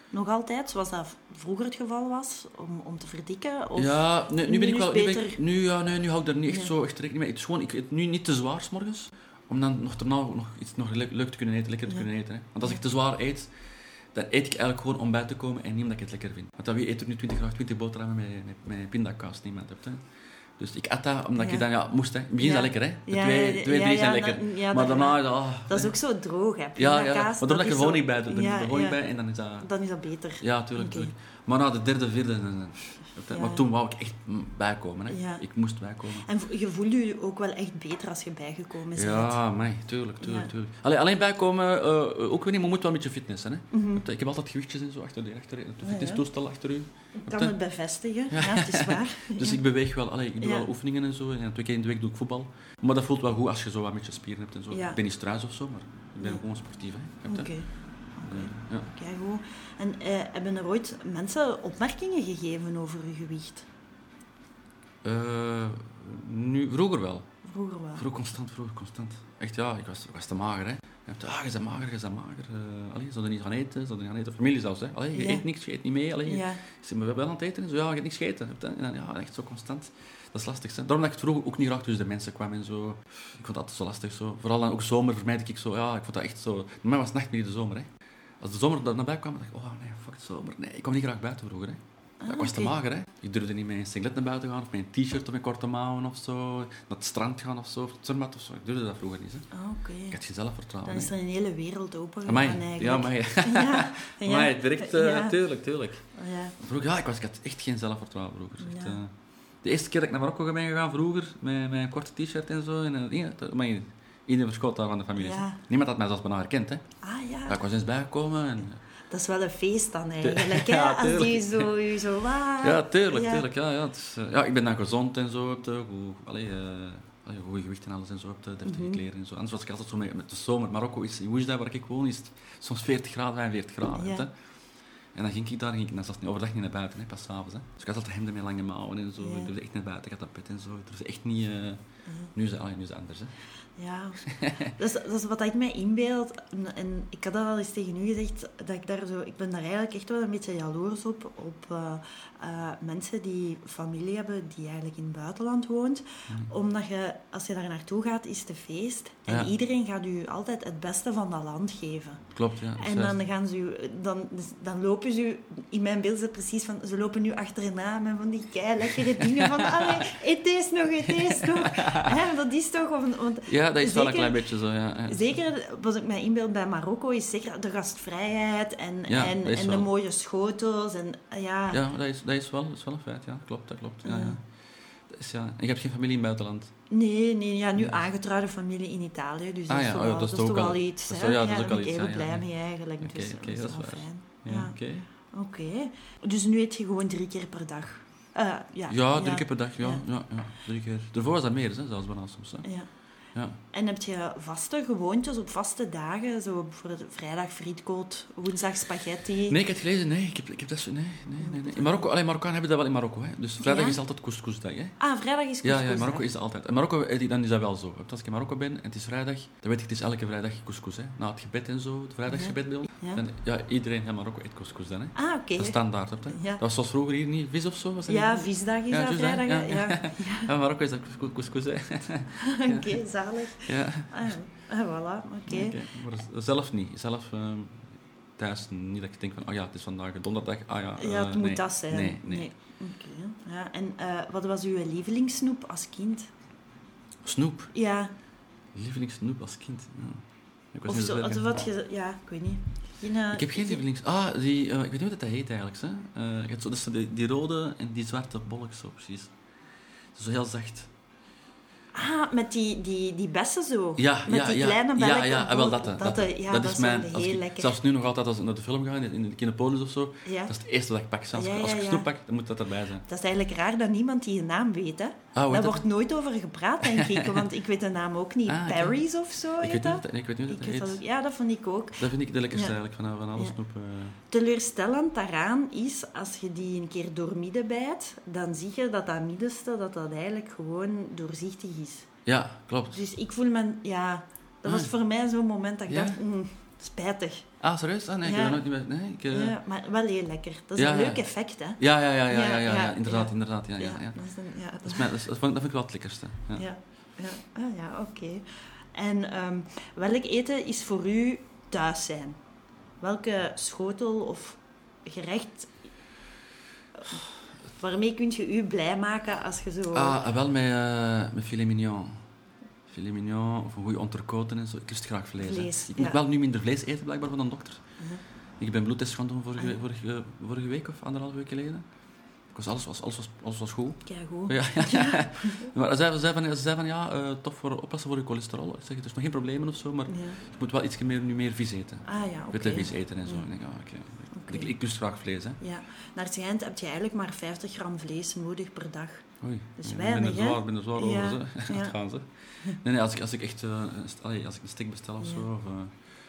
Nog altijd, zoals dat v- vroeger het geval was, om, om te verdikken? Of ja, nu, nu ben ik is wel. Nu, ben ik, beter- nu, ja, nee, nu hou ik daar niet echt Ja. zo echt rekening mee. Het is gewoon, ik eet nu niet te zwaar s'morgens. Om dan nog daarna ook nog iets nog le- leuk te kunnen eten, lekker te Ja. kunnen eten. Hè. Want als ik te zwaar eet, dan eet ik eigenlijk gewoon om bij te komen en niet omdat ik het lekker vind. Want dan wie eet er nu 20 graag 20 boterhammen met, met, met pindakaas? Niemand hebt. Hè. Dus ik at dat omdat Ja. ik dan ja, moest. Hè. In het begin is Ja. dat lekker, hè? De Ja, twee, ja, twee ja, drie zijn ja, lekker. dat- ja, maar dat- daarna, ja. Dat is ook zo droog, hè? Ja, ja, Pindakaas, maar omdat ik is er gewoon zo- niet bij doe. Dan doe ik er gewoon niet ja. bij en dan is dat. Dan is dat beter. Ja, tuurlijk. Oké. tuurlijk. Maar na de derde, vierde... dan- dan- Ja. Maar toen wou ik echt mm, bijkomen. Hè. Ja. Ik moest bijkomen. En vo- je voelde je ook wel echt beter als je bijgekomen is. net. Ja, mij, tuurlijk, tuurlijk, Ja. tuurlijk. Allee, alleen bijkomen, eh, eh, ook weer niet, maar moet wel een beetje fitness zijn. Hè. Mhm. Ik heb altijd gewichtjes en zo achter de, achter, het fitnesstoestel achter u. Ik kan het bevestigen, ja, het is waar. Dus ik beweeg wel, allee, ik doe Ja. wel oefeningen en zo. En ja, twee keer in de week doe ik voetbal. Maar dat voelt wel goed als je zo wat met je spieren hebt en zo. Ja. Ik ben niet struis of zo, maar ik ben gewoon sportief. Hè. Heb Oké, je? Ja. keigoed. En eh, hebben er ooit mensen opmerkingen gegeven over je gewicht? Eh, nu, vroeger wel. Vroeger wel. Vroeg constant, vroeg constant. Echt ja, ik was, ik was te mager hè. Je hebt, ah, je bent mager, je bent mager. Eh allee, zou je niet gaan eten, zou je niet gaan eten. Familie zelfs hè. Allee, je Ja. eet niks, je eet niet mee. Allee, Ja. Je zit me wel aan het eten en zo, ja, je hebt niks gegeten. Heb je? En dan, ja, echt zo constant. Dat is lastig hè. Daarom dat ik het vroeger ook niet graag tussen de mensen kwam en zo. Ik vond dat altijd zo lastig zo. Vooral dan ook zomer vermijd ik zo, ja, ik vond dat echt zo. Voor mij was het nacht meer de zomer hè. Als de zomer daar naar buiten kwam, dacht ik, oh nee, fuck zomer. Nee, ik kwam niet graag buiten vroeger hè. Ja, Ah, ik was te mager, hè. Ik durfde niet met een singlet naar buiten gaan, of met een t-shirt of met korte mouwen of zo. Naar het strand gaan of zo, of het zwembad of zo. Ik durfde dat vroeger niet, hè. Ah, oké. Ik had geen zelfvertrouwen. Dan is hè. er een hele wereld open gegaan Amai. eigenlijk. Ja, amai. Ja, ja. Amai, direct, eh, Ja. tuurlijk, tuurlijk. Ja. Vroeger, ja, ik, was, ik had echt geen zelfvertrouwen vroeger. Echt, Ja. eh, de eerste keer dat ik naar Marokko ben gegaan vroeger, met, met een korte t-shirt en zo, en, eh, ja, dat- amai, iedereen verschoot daar van de familie. Ja. Niemand had mij zelfs bijna herkend, hè. Ah Ja, ja, ik was eens bijgekomen en... dat is wel een feest dan eigenlijk. Ja, hè? Als die tuurlijk. zo, u zo waar. Ja, tuurlijk, Ah, Ja. tuurlijk. Ja, ja, het is, eh, ja, ik ben dan gezond en zo. Heb de, goed, allee, eh, allee, goed gewicht en alles en zo. Heb de deftige Mhm. kleren en zo. Anders was ik altijd zo met, met de zomer. Marokko is, in Oujda, waar ik woon, is het soms 40 graden, 45 graden. Ja. weet je. En dan ging ik daar, ging ik, dan zat niet overdag niet naar buiten, hè, pas s'avonds. hè. Dus ik had altijd hemden met lange mouwen en zo. Ja. Ik durfde echt naar buiten, ik had dat pet en zo. Ik durfde echt niet... eh, nu, is, het- allee, nu is het anders, hè. Ja, dat is, dat is wat ik mij inbeeld. En, en ik had dat al eens tegen u gezegd, dat ik daar zo... Ik ben daar eigenlijk echt wel een beetje jaloers op, op eh, eh, mensen die familie hebben die eigenlijk in het buitenland woont. Omdat je, als je daar naartoe gaat, is het een feest. En Mm. Ja. iedereen gaat u altijd het beste van dat land geven. Klopt, ja. En juist. dan, gaan ze u, dan, dus dan lopen ze u, in mijn beeld is het precies van, ze lopen nu achterna met van die kei lekkere dingen van, allee, eet deze nog, eet deze nog. Hè, dat is toch, want, want Ja, dat is wel zeker- een klein beetje zo, ja. ja. Zeker, wat ik mij inbeeld bij Marokko, is zeker de gastvrijheid en, Ja, en, dat is en de wel. mooie schotels. En, eh, ja, Ja, dat is, dat, is wel, dat is wel een feit, ja. Klopt, dat klopt. Ja, Ja. ja. Dat is, ja. En je hebt geen familie in het buitenland? Nee, nee, ja, nu aangetrouwde familie in Italië, dus dat Ah is ja, toch oh ja, wel- dat dat is is toch toch al- wel iets. dat is hè? toch- ja, Ja, dat is daar ook ben al ik iets, heel ja, blij ja, ja. mee eigenlijk. Oké, dus, eh, oké, dat is wel waar. fijn. Ja, Ja. oké. Oké. Dus nu eet je gewoon drie keer per dag? Eh, ja, Ja, drie keer per dag, ja. Ja. ja. ja, drie keer. Daarvoor was dat meer, hè, zelfs bijna soms. Hè. Ja. Ja. En heb je vaste gewoontes op vaste dagen? Zo bijvoorbeeld vrijdag frietkoot, woensdag spaghetti. Nee, ik heb gelezen, nee, ik heb, ik heb dat zo, nee, nee, nee. nee. In Marokko, alleen Marokkanen hebben dat wel in Marokko, hè. Dus vrijdag Ja? is altijd couscousdag, hè. Ah, vrijdag is Ja, ja, in couscous, Marokko hè? is dat altijd. In Marokko, eh, die- dan is dat wel zo. Als ik in Marokko ben en het is vrijdag, dan weet ik, het is elke vrijdag couscous, hè. Na het gebed en zo, het vrijdagsgebed bij ons. Ja. Dan, ja, iedereen in Marokko eet couscous dan, hè. Ah, oké. Dat is standaard, hè. Ja. Dat was zoals vroeger hier niet, vis of zo, was dat Ja, niet? visdag is Ja, dat, visdag, vrijdag. hè? Ja, ja. Ja, in Marokko is dat couscous- couscous, hè. oké, zalig. Ja. Ah, ah, voilà, oké. Oké, Maar zelf niet. Zelf ehm, thuis niet dat ik denk van, oh ja, het is vandaag donderdag. Ah ja, Ja, het eh, moet nee. dat zijn. Nee, nee. Oké. Ja, en eh, wat was uw lievelingssnoep als kind? Snoep. Ja, Lievelingssnoep als kind. Ja. Ik, was of niet zo, zo of erg. wat je... Ja, ik weet niet. Geen, eh, ik heb geen lievelings... Ah, die, eh, ik weet niet hoe dat dat heet eigenlijk. Hè. Eh, je hebt zo, dat is zo die, die rode en die zwarte bolk zo precies. Zo heel zacht. Ah, met die, die, die bessen zo. Ja, met ja, die ja. kleine ja, belletjes. ja, ah, wel dat, hè, dat, hè. ja, dat, dat is mijn... als heel ik- lekker. zelfs nu nog altijd als ik naar de film ga, in- in de Kinepolis of zo, Ja. dat is het eerste dat ik pak. Zelfs Ja, als ja, ik ja. snoep pak, dan moet dat erbij zijn. Dat is eigenlijk raar dat niemand die naam weet, hè. Ah, hoe heet Daar dat? wordt nooit over gepraat, denk ik. Want ik weet de naam ook niet. Ah, oké. Perry's of zo, Ik heet weet, niet, dat? hoe dat- ik weet niet hoe Ik dat, weet dat heet. ook. Ja, dat vond ik ook. Dat vind ik de lekkerste Ja. eigenlijk, van, van alle Ja. snoep. eh. Teleurstellend daaraan is, als je die een keer doormidden bijt, dan zie je dat dat middenste, dat dat eigenlijk gewoon doorzichtig is. Ja, klopt. Dus ik voel me, ja, dat was Ah. voor mij zo'n moment dat ik Ja? dacht, mm, spijtig. Ah, serieus? Ah, nee, ik Ja. heb dat nooit meer... Nee, ik... eh, Ja, maar wel heel lekker. Dat is Ja, een ja. leuk effect, hè? Ja, ja, ja, ja, Ja, ja, ja, ja, ja, inderdaad, ja. inderdaad, ja, ja, ja. dat is een- ja, Dat, is mijn, dat, is- dat vond ik- dat vind ik wel het lekkerste. Ja. ja, ja. Ah, ja, oké. En ehm, welk eten is voor u thuis zijn? Welke schotel of gerecht waarmee kunt je u blij maken als je zo... Ah, en wel met, eh, met filet mignon. Filet mignon, of een goede entrecoten en zo. Ik lust graag vlees. hè. Vlees, ik ja. Mhm. moet wel nu minder vlees eten, blijkbaar, van een dokter. Ik ben bloedtest gaan doen Ah, vorige, vorige, vorige week of anderhalve week geleden. Ik was, alles, was, alles, was, alles was goed. Keigoed. Oh, Ja, ja. maar ze zei, ze zei van, ze zei van ja, eh, tof voor oppassen voor je cholesterol. Ik zeg, het is nog geen problemen of zo, maar Ja. je moet wel iets meer, nu meer vis eten. Ah ja, oké. Witte vis eten en zo. Ik denk, ah, oké. Oké. Ik, ik lust graag vlees, hè. Ja. Naar het schijnt heb je eigenlijk maar 50 gram vlees nodig per dag. Oei, Dus ik weinig, ben er zwaar, hè? ben er zwaar Ja, over, ze. ja. Dat gaan ze. Nee, nee, als ik, als ik echt eh, een st- allee, als ik een stick bestel of Ja. zo, of, eh,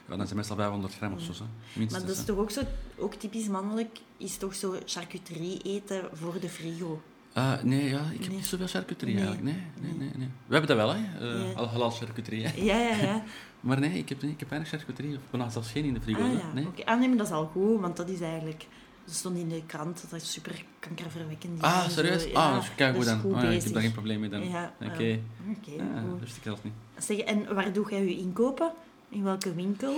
ja, dan zijn meestal 500 gram of zo, hè. minstens. Maar dat is hè. toch ook zo, ook typisch mannelijk, is toch zo charcuterie eten voor de frigo. Ah, nee, ja, ik heb Nee. niet zoveel charcuterie Nee. eigenlijk. Nee, nee, nee, nee. We hebben dat wel, hè. eh, Ja. Al halal charcuterie, hè. Ja, ja, ja. Maar nee, ik heb, nee, ik heb weinig charcuterie. Of bijna zelfs geen in de frigo. Ah hè. ja, nee. oké. Ah, nee, maar dat is al goed, want dat is eigenlijk... Dat stond in de krant, dat is super kankerverwekkend. is en Ah, zo. serieus? Ja, ah, dat is keigoed dan. goed Ah, ja, ik bezig. heb daar geen probleem mee dan. Ja, Oké. Ah, dus- ja. Oké, Ja, goed. wist ik zelfs niet. Zeg, en waar doe jij je inkopen? In welke winkel?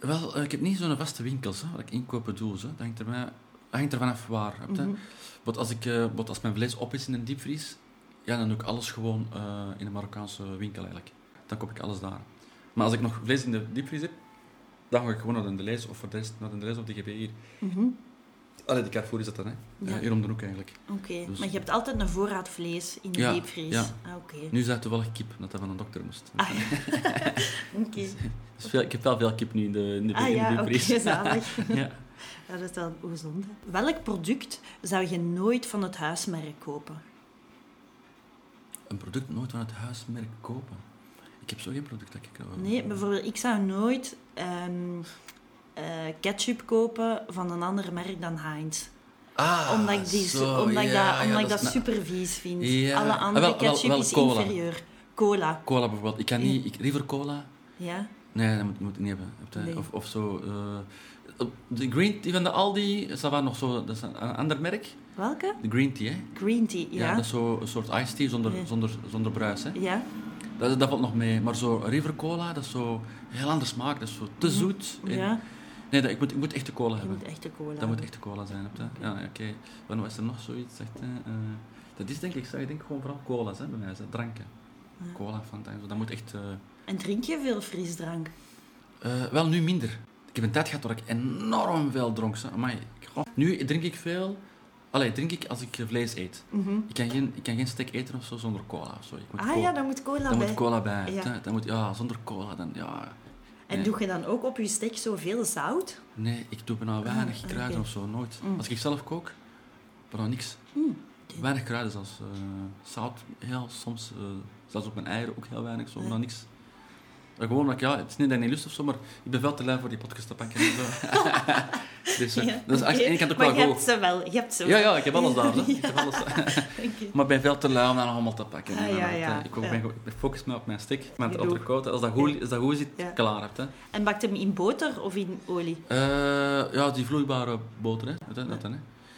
Wel, eh, ik heb niet zo'n vaste winkels hè, waar ik inkopen doe. Hè. Dat hangt er mij hangt ervan af waar. weet Mhm. je. Want als, ik, eh, want als mijn vlees op is in een diepvries, ja, dan doe ik alles gewoon eh, in een Marokkaanse winkel eigenlijk. Dan koop ik alles daar. Maar als ik nog vlees in de diepvries heb, dan ga ik gewoon naar de Deleuze of voor de rest naar de Deleuze of de GB hier. Allee, de Carrefour is dat dan, hè? mhm. Ja. Ja, hier om de hoek eigenlijk. Oké, maar je hebt altijd een voorraad vlees in de Ja, diepvries. ja. Ah, Oké. Nu is dat toevallig kip, dat dat van een dokter moest. Ah, ja. Oké. Dus veel, ik heb wel veel kip nu in de, in de, Ah in de ja, oké, diepvries. zalig. ja. Dat is wel gezond. hè. Welk product zou je nooit van het huismerk kopen? Een product nooit van het huismerk kopen. Ik heb zo geen product dat ik eh, Nee, bijvoorbeeld, ik zou nooit ehm, eh, ketchup kopen van een ander merk dan Heinz. Ah, Omdat ik, die, zo, omdat ik ja, dat, ja, omdat ik dat dat is na- super vies vind. Ja. Alle Ah, andere wel- wel- ketchup wel is cola. inferieur. Cola, Cola bijvoorbeeld. Ik kan niet... Ik, river cola? ja. Nee, dat moet, moet ik niet hebben. Heb je- Nee. Of, of zo... eh, de green tea van de Aldi, is dat wel nog zo... Dat is een, een ander merk. Welke? De green tea, hè? Green tea, ja. dat is zo een soort iced tea zonder, Ja. zonder, zonder bruis, hè? Ja, Dat, dat valt nog mee. Maar zo river cola, dat is zo... Een heel andere smaak. Dat is zo te zoet. En- ja. Nee, dat, ik, moet, ik moet echte cola Je hebben. moet echte cola Dat moet hebben. echt de cola zijn, hebt hè? Ja, oké. Dan was er nog zoiets, zegt hè, eh, Dat is denk ik, zo, ik denk gewoon vooral cola's, hè, bij mij, is dat dranken. Cola, Fanta en zo. Dat moet echt... eh, En drink je veel frisdrank? eh, wel, nu minder. Ik heb een tijd gehad waar ik enorm veel dronk. Hè. Amai, ik- goh. Nu drink ik veel... Allee, drink ik als ik eh, vlees eet. Ik, kan geen, ik kan geen steak eten of zo zonder cola of zo. Ik moet Mhm. Ah co- ja, daar moet cola daar bij. moet cola bij. Ja. hè. Dat moet, ja, zonder cola dan, ja... En Nee. doe je dan ook op je steak zoveel zout? Nee, ik doe bijna weinig Ah, oké. Mm. kruiden of zo, nooit. Als ik zelf kook, bijna niks. Weinig kruiden zelfs. eh, zout, heel soms, eh, zelfs op mijn eieren ook heel weinig, zo, bijna Ah. niks. Maar gewoon, dat ik, ja, het is niet dat ik niet lust of zo, maar ik ben wel te lui voor die podcast te pakken. en zo. dus eh, dat is aan de oké. ene kant ook maar wel je goed. hebt ze wel. Je hebt ze Ja, wel. ja, ik heb alles daar. hè. Ik heb alles. Oké. Maar ik ben veel te lui om dat nog allemaal te pakken. Ah, ja, inderdaad, ja. hè. Ik, ook Ja. ben, gewoon- ik focus me op mijn stick, mijn Ik andere ook. koud. Als dat goed, als dat goed zit, Ja. klaar hebt. Hè. En bakt hem in boter of in olie? Eh, ja, die vloeibare boter, hè. Dat, dat, hè.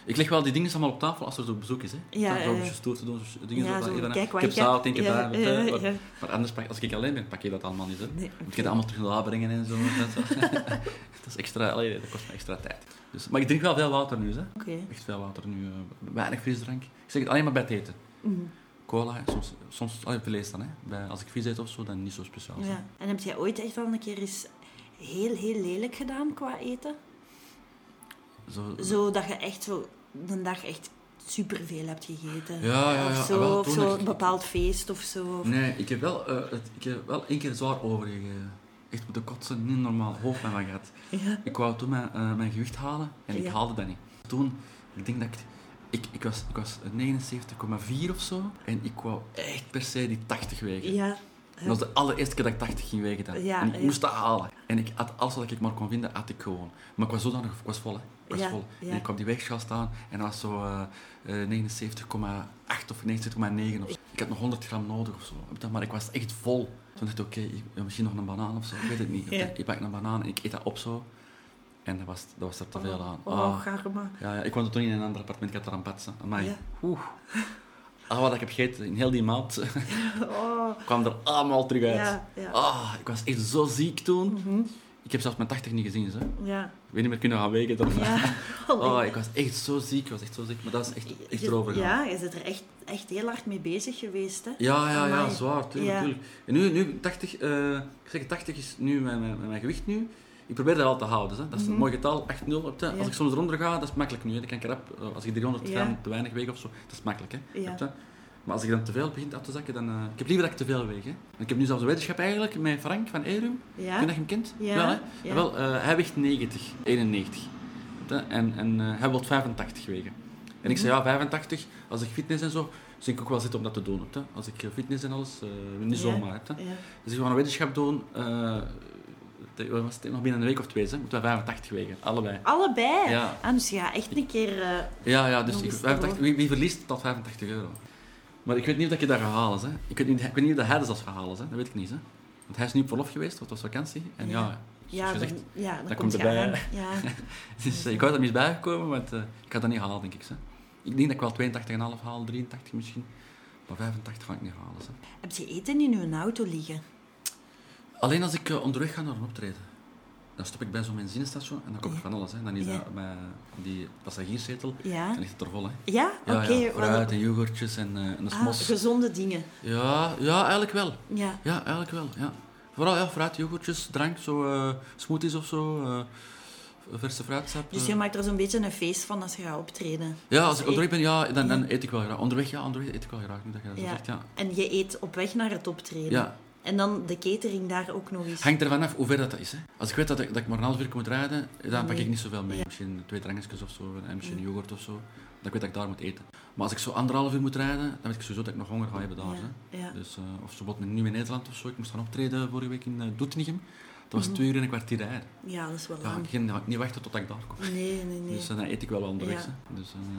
Ik leg wel die dingen allemaal op tafel als er zo bezoek is, hè. Ja, Dan zo eh, zo stoer te doen, zo dingen ja, zo. zo, dat- kijk wat ik heb ik heb. zout, eentje Ja, daar. eh, ja, wat- ja. Maar anders, pak, als ik alleen ben, pak je dat allemaal niet, hè. Nee, Moet je dat allemaal terug nabrengen en zo. en zo. dat is extra, allee, dat kost me extra tijd. Dus, maar ik drink wel veel water nu, hè. Oké. Echt veel water nu. eh, weinig frisdrank. Ik zeg het alleen maar bij het eten. Cola, hè, soms, soms allee, vlees dan, hè. Bij, als ik vis eet of zo, dan niet zo speciaal. hè. Ja. En heb jij ooit echt al een keer eens heel, heel lelijk gedaan qua eten? Zo, Zo dat je echt zo een dag echt superveel hebt gegeten. Ja, ja, ja. Of Ah, zo, wel, of toen zo ik- een bepaald feest of zo. Of- Nee, ik heb wel, eh, het, ik heb wel één keer zwaar overgegeven. Echt moeten kotsen, niet normaal. Hoofdpijn van gehad. Ja. Ik wou toen mijn, eh, mijn gewicht halen en ik Ja. haalde dat niet. Toen, ik denk dat ik... Ik, ik was, ik was 79,4 of zo. En ik wou echt per se die 80 wegen. Ja. Dat was de allereerste keer dat ik 80 ging wegen dan. Ja, en ik ja. moest dat halen. En ik had alles wat ik maar kon vinden, had ik gewoon. Maar ik was zodanig, ik was vol hè. Ik was Ja, vol. ja. En ik kwam die weegschaal staan en dat was zo eh, eh, 79,8 of 79,9 of zo. Ik had nog 100 gram nodig of zo. Weet je, Maar ik was echt vol. Toen dacht ik, oké, ik- ja, misschien nog een banaan of zo. Ik weet het niet. Ja. Ik pak een banaan en ik eet dat op zo. En dat was, dat was er te veel aan. Oh, Ah. garma. Ja, ja, ik woonde toen in een ander appartement, ik had er aan patsen. Amai. Ja. Oeh. Ah, wat ik heb gegeten in heel die maand. Oh, kwam er allemaal terug uit. Ja, ja. Mhm. Ah, ik was echt zo ziek toen. Ik heb zelfs mijn 80 niet gezien. Zo. Ik ja. weet niet meer kunnen gaan wegen. Dan. Ja. Oh, ik was echt zo ziek. Ik was echt zo ziek. Maar dat is echt, echt erover gegaan. Ja, je bent er echt, echt heel hard mee bezig geweest, hè? Ja, ja, ja, Amai. zwaar. Tuurlijk, Ja. tuurlijk. En nu, nu 80, eh, ik zeg het, 80 is nu mijn, mijn, mijn gewicht nu. Ik probeer dat wel te houden. Hè. Dat is Mhm. een mooi getal, 8-0. op de- Als ik soms eronder ga, dat is makkelijk nu. Hè. Dan kan ik rap, eh, als ik 300 Ja. gram te weinig weeg of zo, dat is makkelijk. Hè. Ja. Op de- Maar als ik dan te veel begint af te zakken, dan... eh, ik heb liever dat ik te veel weeg. Hè. Want Ik heb nu zelfs een wetenschap eigenlijk met Frank van Erum. Ja. Ik weet dat je hem kent. Ja, Wel, hè? ja. Wel, eh, hij weegt 90, 91. Weet je, En, en eh, hij wil 85 wegen. En Mhm. ik zei, ja, 85, als ik fitness en zo, zin ik ook wel zitten om dat te doen. weet je. Als ik eh, fitness en alles, eh, niet Ja, zomaar. weet je. ja. Dus ik ga een wetenschap doen, eh, te- wat was het, nog binnen een week of twee, hè, moeten we 85 wegen, allebei. Allebei? Ja. Ah, dus je gaat echt een keer... eh, Ja, ja, dus Nog ik, eens 85, euro. wie, wie verliest, dat 85 euro. Maar ik weet niet of dat je dat gaat halen. Hè. Ik, weet niet, ik weet niet of dat hij dus dat zal gaan halen, hè. dat weet ik niet. Hè. Want hij is nu op verlof geweest, want het was vakantie. En ja, zoals ja, dan, gezegd, ja, dan dat komt komt je erbij. aan. Ja. Dus eh, ik wou er mis bijgekomen, want eh, ik had dat niet halen, denk ik. Hè. Ik denk dat ik wel 82,5 haal, 83 misschien. Maar 85 ga ik niet halen. Hè. Heb je eten in je auto liggen? Alleen als ik eh, onderweg ga naar een optreden. dan stop ik bij zo'n benzinestation en dan komt van alles. Hè. Dan is dat met die passagierszetel, Ja. dan ligt het er vol. Hè. Ja? Oké. fruit wel- en yoghurtjes en, eh en de ah, smos. gezonde dingen. ja, ja, eigenlijk wel. Ja. Ja, eigenlijk wel. Ja. Vooral ja, fruit, yoghurtjes, drank, zo, eh, smoothies of zo. eh, verse fruitsap. Dus eh. je maakt er zo'n beetje een feest van als je gaat optreden. Ja, als ik Dus onderweg ben, ja, dan, dan eet ik wel graag. Onderweg, ja, onderweg eet ik wel graag. Nu dat je dat zo Ja. zegt, ja. En je eet op weg naar het optreden. Ja. En dan de catering daar ook nog eens. Hangt ervan af hoe ver dat, dat is. Hè. Als ik weet dat ik, dat ik maar een half uur moet rijden, dan pak Nee. ik niet zoveel mee. Misschien twee drankjes of zo, en misschien yoghurt of zo. Dan ik weet dat ik daar moet eten. Maar als ik zo anderhalf uur moet rijden, dan weet ik sowieso dat ik nog honger ga hebben daar. Ja, Hè. ja. Dus, eh, of zo bijvoorbeeld nu in Nederland of zo. Ik moest gaan optreden vorige week in eh, Doetinchem. Dat Mhm. was twee uur en een kwartier rijden. Ja, dat is wel Ja, lang. ik ging niet wachten tot ik daar kom. Nee, Ah. nee, nee. Dus eh, dan eet ik wel wel onderweg. Ja. hè. Dus, eh,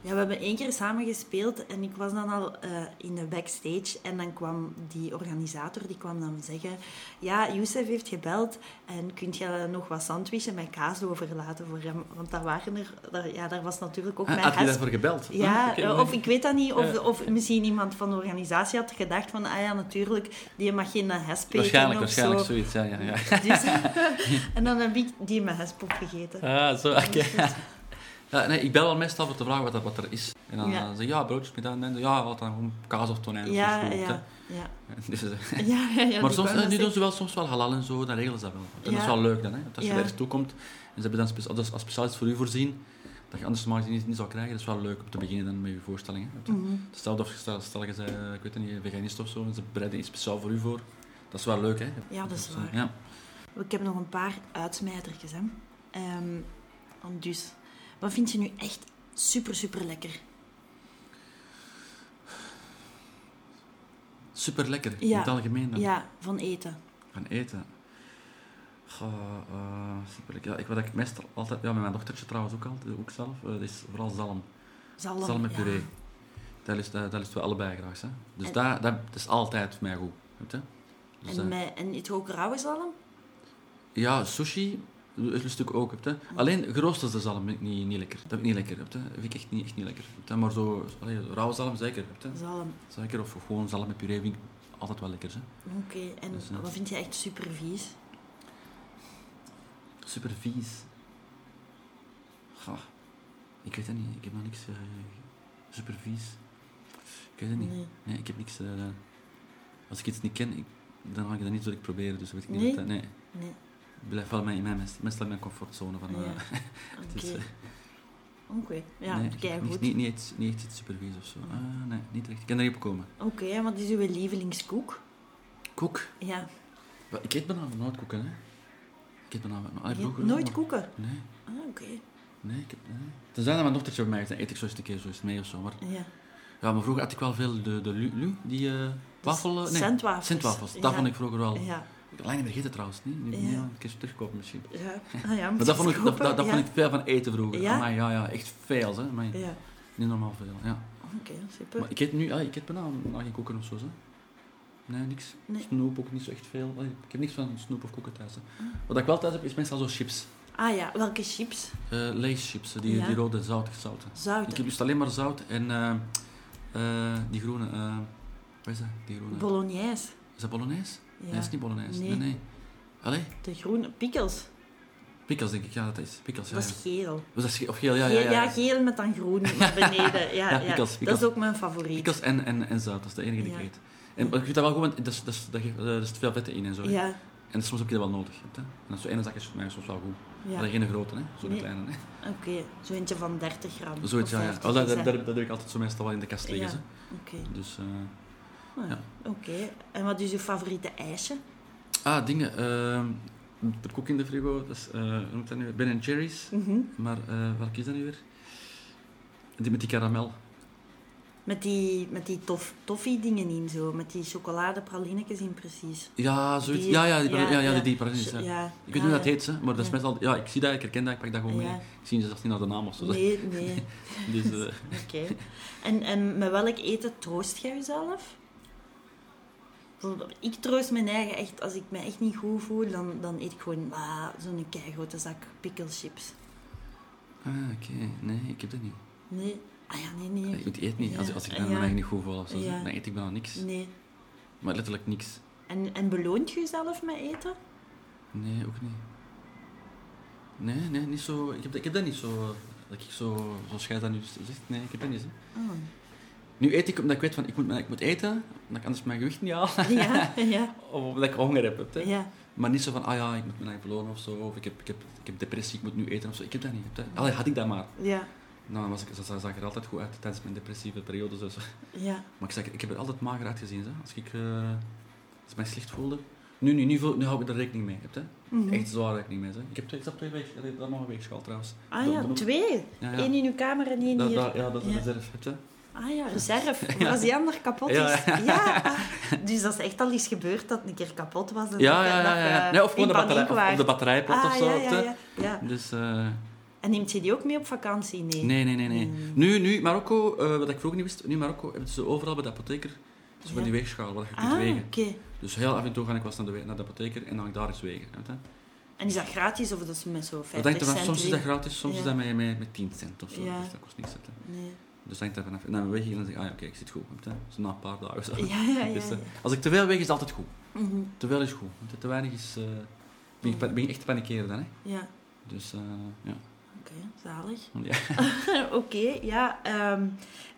Ja, we hebben één keer samen gespeeld en ik was dan al eh, in de backstage en dan kwam die organisator, die kwam dan zeggen ja, Youssef heeft gebeld en kunt je nog wat sandwichen met kaas overlaten voor hem? Want daar waren er, daar, ja, daar was natuurlijk ook ah, mijn had je gast. daarvoor gebeld? Ja, Ah, oké, eh, maar- of ik weet dat niet, of, of misschien iemand van de organisatie had gedacht van, ah ja, natuurlijk, die mag geen hesp eten Waarschijnlijk, of waarschijnlijk zo. zoiets. Ja, ja, ja. Dus, en dan heb ik die mijn hesp opgegeten. Ah, zo, oké. Ja, nee, ik bel wel meestal voor te vragen wat, dat- wat er is. En dan Ja. eh, zeg ik, ja, broodjes met dat en dat. Ja, wat dan gewoon kaas of tonijn. of Ja, zo, ja, goed, ja. hè. Dus, eh, Ja, ja, ja, maar die soms, kwam eh, dan nu doen zeggen- ze wel soms wel halal en zo, dan regelen ze dat wel. En dat Ja. is wel leuk dan, hè. Want als je Ja. ergens toekomt en ze hebben dan spe- als- als speciaal iets voor u voorzien, dat je anders normaal gezien niet, niet zou krijgen, dat is wel leuk om te beginnen dan met je voorstellingen. Mm. Mhm. Stel dat je, stel, stel je bent, eh, ik weet het niet, veganist of zo, en ze bereiden iets speciaal voor u voor. Dat is wel leuk, hè. Ja, dat is eh, waar. Ja. Ik heb nog een paar uitsmijtertjes, hè. Ehm, want dus, wat vind je nu echt super, super lekker? Super lekker, Ja. in het algemeen Ja, dan. van eten. Gaan eten. Goh, eh, super lekker. Ja, ik, wat ik meestal altijd... Ja, met mijn dochtertje trouwens ook, altijd, ook zelf. eh, dat is vooral zalm. Zalm. Zalm met ja. puree. Dat is, dat, dat is we allebei graag. Hè? Dus dat, dat is altijd voor mij goed. Weet je? Dus, En, eh, met, en eet je ook rauwe zalm? ja, sushi is een stuk ook. Weet je? Alleen geroosterde zalm vind ik niet, niet lekker. Dat vind ik niet lekker. Weet je? Dat vind ik echt niet, echt niet lekker. Weet je? Maar zo... Allee, rauwe zalm zeker. Weet je? Zalm, Zeker. Of gewoon zalm met puree vind ik altijd wel lekker. Hè? oké. En Dus, eh, wat vind je echt super vies? Super vies. Goh, ik weet het niet. Ik heb nog niks. eh super vies. Ik weet het niet. Nee. Nee, ik heb niks. eh, als ik iets niet ken, ik, dan ga ik dat niet direct proberen. Dus weet ik niet. Nee? wat dat- nee. Nee, Ik blijf wel mijn, in mijn, meestal in mijn comfortzone. Van, eh, Ja. het oké. is, eh, Oké, ja, nee, nee, ik heb niks- goed. niet, niet, iets- niet echt iets super vies of zo. Ah, nee, niet echt. Ik kan er niet op komen. Oké, en wat is uw lievelingskoek? Koek. Ja. Wel, Ik eet bijna nooit koeken, hè? Ik eet bijna ah, Je vroeger hebt wel, nooit maar- koeken? Nee, Ah, oké. nee, ik heb. Nee. Tenzij dat mijn dochtertje bij mij is, dan eet ik zo eens een keer zo eens mee of zo. Maar Ja. Ja, maar vroeger had ik wel veel de, de Lu, Lu, die eh wafel... eh, nee, centwafels. centwafels. Dat Ja. vond ik vroeger wel... Ja. Lang niet vergeten trouwens, niet? Nu Ja. ja. een keer terugkopen misschien. Ja. Ah, ja Maar dat vond, ik, dat, kopen, dat, dat ja. vond ik veel van eten vroeger. Ja? Ja? Amai, ja, ja, echt veel, hè. Amai, Ja, Niet normaal veel, ja. oké, super. Maar ik eet nu... Ja, ik eet bijna nou, geen koeken of zo, hè. Nee, niks. Nee. Snoep ook niet zo echt veel. Allee, ik heb niks van snoep of koeken thuis, hè. Wat ik wel thuis heb, is meestal zo chips. Ah ja, welke chips? eh Lay's chips, hè, die, Ja. die rode zoutige zouten. Ik Zouten. heb dus alleen maar zout en eh, eh, die groene... eh wat is dat? Die groene... Bolognese. Is dat bolognese? Ja. Nee, is niet bolognese. Nee. Nee, nee. Allee, De groene pikkels. pikkels denk ik. Ja, dat is. Pikkels, ja. Dat is ja. geel. Was dat ge- of geel, ja, Geel- ja, ja. ja. geel met dan groen naar beneden. Ja, ja, Ja, pickles, Dat pickles. is ook mijn favoriet. Pikkels en, en, en zout, dat is de enige die Ja. ik eet. En maar ik vind dat wel goed, want dat is, dat is, dat geeft- eh, er zit veel vetten in en zo. hè. Ja, En soms heb je dat wel nodig. Hè? En dat is zo'n ene zak is voor mij soms wel goed. Ja. Maar geen grote, hè? zo'n Nee. kleine. Hè? oké. Zo eentje van 30 gram. Zoiets, of ja. ja. 50 Oh, dat, is, dat, hè. dat, dat doe ik altijd zo meestal wel in de kast liggen. Ja, ze. Oké. Dus, eh, Ah, Ja. Oké. En wat is uw favoriete ijsje? Ah, dingen. ehm er koek in de frigo, dat is, eh, hoe noemt dat nu? Ben Jerry's. Mhm. Maar eh welke is dat nu weer? Die met die karamel. Met die, met die tof, toffee dingen in zo. Met die chocoladepralinetjes in precies. Ja, zoiets. Die- ja, ja, die, ja, ja, ja. die, die precies. Zo- ja. ja. Ik weet Ja, niet hoe dat ja. heet, hè, maar dat is Ja. meestal... Ja, ik zie dat, ik herken dat, ik pak dat gewoon Ja. mee. Ik zie zelfs niet naar de naam of zo. Nee, nee. Dus, eh, Oké. En, en met welk eten troost jij jezelf? Bijvoorbeeld, Ik troost mijn eigen echt, als ik me echt niet goed voel, dan, dan eet ik gewoon ah, zo'n keigrote zak pikkelchips. ah, oké. Nee, ik heb dat niet. Nee. Ah ja, nee, nee. Ik eet niet. Als, als ik dan mijn eigen niet goed voel of zo, Ja. dan eet ik bijna niks. Nee. Maar letterlijk niks. En, en beloont je jezelf met eten? Nee, ook niet. Nee, nee, niet zo. Ik heb, ik heb dat niet zo. eh, Dat ik zo, zoals jij dat nu zegt. Nee, ik heb dat niet. Hè. Oh. Nu eet ik omdat ik weet van ik moet, ik moet eten, omdat ik anders mijn gewicht niet haal. Ja, ja, of omdat ik honger heb. hè. ja. Maar niet zo van, ah ja, ik moet mijn eigen belonen of zo. Of ik heb, ik, heb, ik heb depressie, ik moet nu eten of zo. Ik heb dat niet. hè. Allee, had ik dat maar. Ja, Nou, was ik, zag, zag er altijd goed uit tijdens mijn depressieve periodes. Dus. ja. Maar ik, zag, ik heb er altijd mager uitgezien. Hè. Als ik eh, als ik mij slecht voelde. Nu, nu, nu, voel- nu hou ik er rekening mee. Hè. Mhm. Echt zwaar rekening mee. Hè. Ik heb twee, ik heb twee weken, dat heb ik nog een week geschaald trouwens. Ah Dat- ja, dat- twee. Ja, Ah ja. Eén in uw kamer en één Dat, hier. dat, ja, dat is Ja. een reserve. Heb je? Ah ja, reserve. Maar als die ander kapot is. Ja, Ja. Dus dat is echt al iets gebeurd dat het een keer kapot was. En Ja, dat- ja, ja. dat ja, je ja. Nee, of gewoon in de batterij, paniek of, op de waart. batterij plat of Ah, zo. ja, hè. ja, ja, ja. Dus, eh, En neemt je die ook mee op vakantie? Nee. nee, nee, nee. nee. Mm. Nu, nu Marokko, eh, wat ik vroeger niet wist, nu in Marokko hebben ze overal bij de apotheker zo van Ja. die weegschaal waar je kunt Ah, oké. wegen. Dus heel af en toe ga ik wel eens naar de, we- naar de apotheker en dan ga ik daar eens wegen. Weet je. En is dat gratis of dat is met zo'n 50 Dat hangt ervan- cent soms is dat erin? gratis, soms Ja. is dat met, met, met 10 cent of zo. Ja. Dus dat kost niks. weet je. Nee. Dus dat hangt ervan af. En dan weg je en dan zeg ik, ah ja, oké, ik zit goed. weet je. Dus na een paar dagen. of Zo. Ja, ja, ja. Dus, eh, ja. als ik te veel weeg is het altijd goed. Mhm, Te veel is goed. weet je. Te weinig is... eh, ben, je, ben je echt te panikeren dan, hè? ja. Dus, eh, ja. Oké, zalig. ja. Oké, ja. ehm,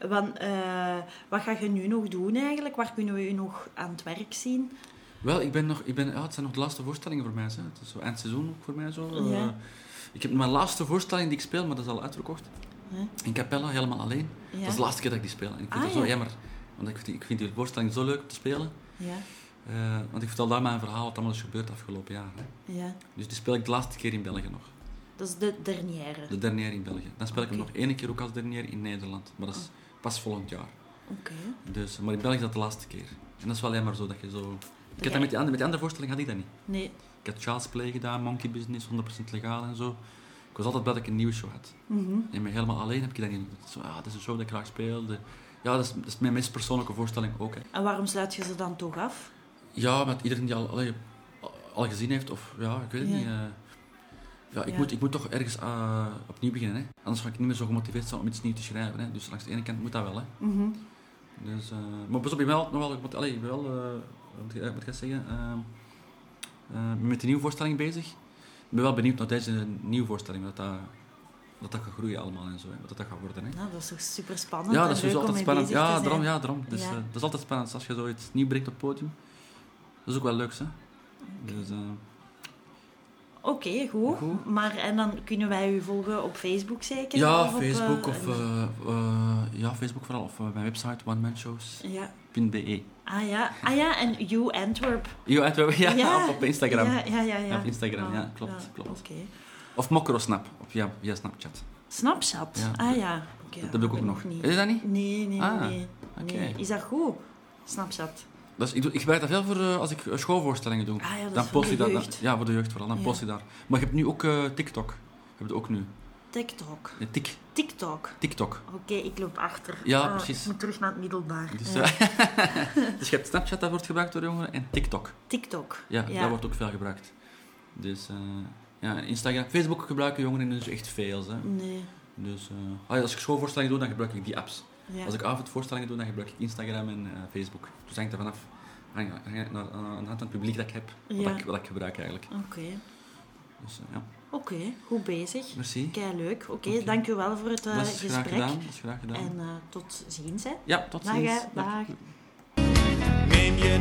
want, eh, wat ga je nu nog doen eigenlijk? Waar kunnen we je nog aan het werk zien? Wel, ik ben nog, ik ben, ja, het zijn nog de laatste voorstellingen voor mij. Hè. Het is zo eind seizoen ook voor mij zo. Eh, Ja. ik heb mijn laatste voorstelling die ik speel, maar dat is al uitverkocht. Ja. In Capella, helemaal alleen. Ja? Dat is de laatste keer dat ik die speel. En ik vind Ah, dat zo ja. jammer. Want ik vind, ik vind die voorstelling zo leuk om te spelen. ja, Eh, want ik vertel daar mijn verhaal wat allemaal is gebeurd afgelopen jaar. Hè. ja. Dus die speel ik de laatste keer in België nog. Dat is de dernière. De dernière in België. Dan speel ik hem Oké. Oh. nog één keer ook als dernière in Nederland. Maar dat is pas volgend jaar. Oké. Dus, maar in België is dat de laatste keer. En dat is wel jammer zo dat je zo... Ik had Ja. dat met, die andere, met die andere voorstelling had ik dat niet. Nee. Ik had Child's Play gedaan, Monkey Business, 100% legaal en zo. Ik was altijd blij dat ik een nieuwe show had. Mhm. En me helemaal alleen heb ik dat niet. Zo, ah, dat is een show dat ik graag speel. De- ja, dat is, dat is mijn meest persoonlijke voorstelling ook. Hè. En waarom sluit je ze dan toch af? Ja, met iedereen die al, allee, al gezien heeft, of ja, ik weet het Ja. niet. eh. ja, ik, Ja. Moet, ik moet toch ergens eh, opnieuw beginnen. Hè. Anders ga ik niet meer zo gemotiveerd zijn om iets nieuws te schrijven. Hè. Dus langs de ene kant moet dat wel. Hè. Mhm. Dus, eh, maar pas op, ik ben wel, nog wel, ik moet- allee, ik ben wel eh, wat ik- eh, wat ik ga zeggen, eh, eh, met die nieuwe voorstelling bezig. Ik ben wel benieuwd naar deze nieuwe voorstelling, wat dat, wat dat gaat groeien allemaal en zo, hè, wat dat gaat worden. Hè. Nou, dat is toch super spannend. Ja, dat is sowieso altijd spannend. Ja, daarom, daarom ja, daarom. Dus, Ja. eh, dat is altijd spannend als je zoiets nieuw brengt op het podium. Dat is ook wel leuk, hè. Dus, eh, Oké, goed. Goed. Maar en dan kunnen wij u volgen op Facebook zeker? ja, Of op, Facebook eh, of, een- eh, eh, ja, Facebook vooral, of eh, mijn website onemanshows.be. Ja. Ah ja. Ah ja, en You Antwerp. Ja, en we- ja, Ja. Op, op Instagram. Ja, ja, ja. ja. Ah, Ja, op Instagram, ja, klopt, klopt. Oké. Of Mokrosnap, op, via, via Snapchat. Snapchat. Ja. Ah ja. Oké, Dat heb ik ook nog. Niet. Is dat niet? Nee, nee, Ah, nee. nee. oké. Is dat goed? Snapchat. Dat is, ik, doe, ik gebruik dat veel voor eh, als ik eh, schoolvoorstellingen doe. Ah ja, dat is dan voor post de ik dat, dan- jeugd. ja, voor de jeugd vooral. Dan Ja. post ik daar. Maar je hebt nu ook eh, TikTok. Je hebt het ook nu. TikTok. Nee, tik, TikTok. TikTok. Oké, ik loop achter. Ja, Ah, precies. Ik moet terug naar het middelbaar. Dus, Oh, Ja. eh, dus je hebt Snapchat, dat wordt gebruikt door jongeren. En TikTok. TikTok. Ja, dat wordt ook veel gebruikt. Dus eh, ja, Instagram. Facebook gebruiken jongeren dus echt veel. Hè. Nee. Dus eh, ah ja, als ik schoolvoorstellingen doe, dan gebruik ik die apps. Ja. Als ik avondvoorstellingen doe, dan gebruik ik Instagram en eh, Facebook. Dus hangt er vanaf. Hang, hang, naar, aan de hand van het publiek dat ik heb. Wat, Ja. Oh. ik, wat ik gebruik eigenlijk. Oké. Dus eh, ja, Oké, goed bezig. merci. Kei leuk. Oké, Oké. dank u wel voor het eh, dat is gesprek. graag gedaan. Dat is graag gedaan. En eh, tot ziens. Hè. ja, tot Dag, ziens. hè. Dag. Neem je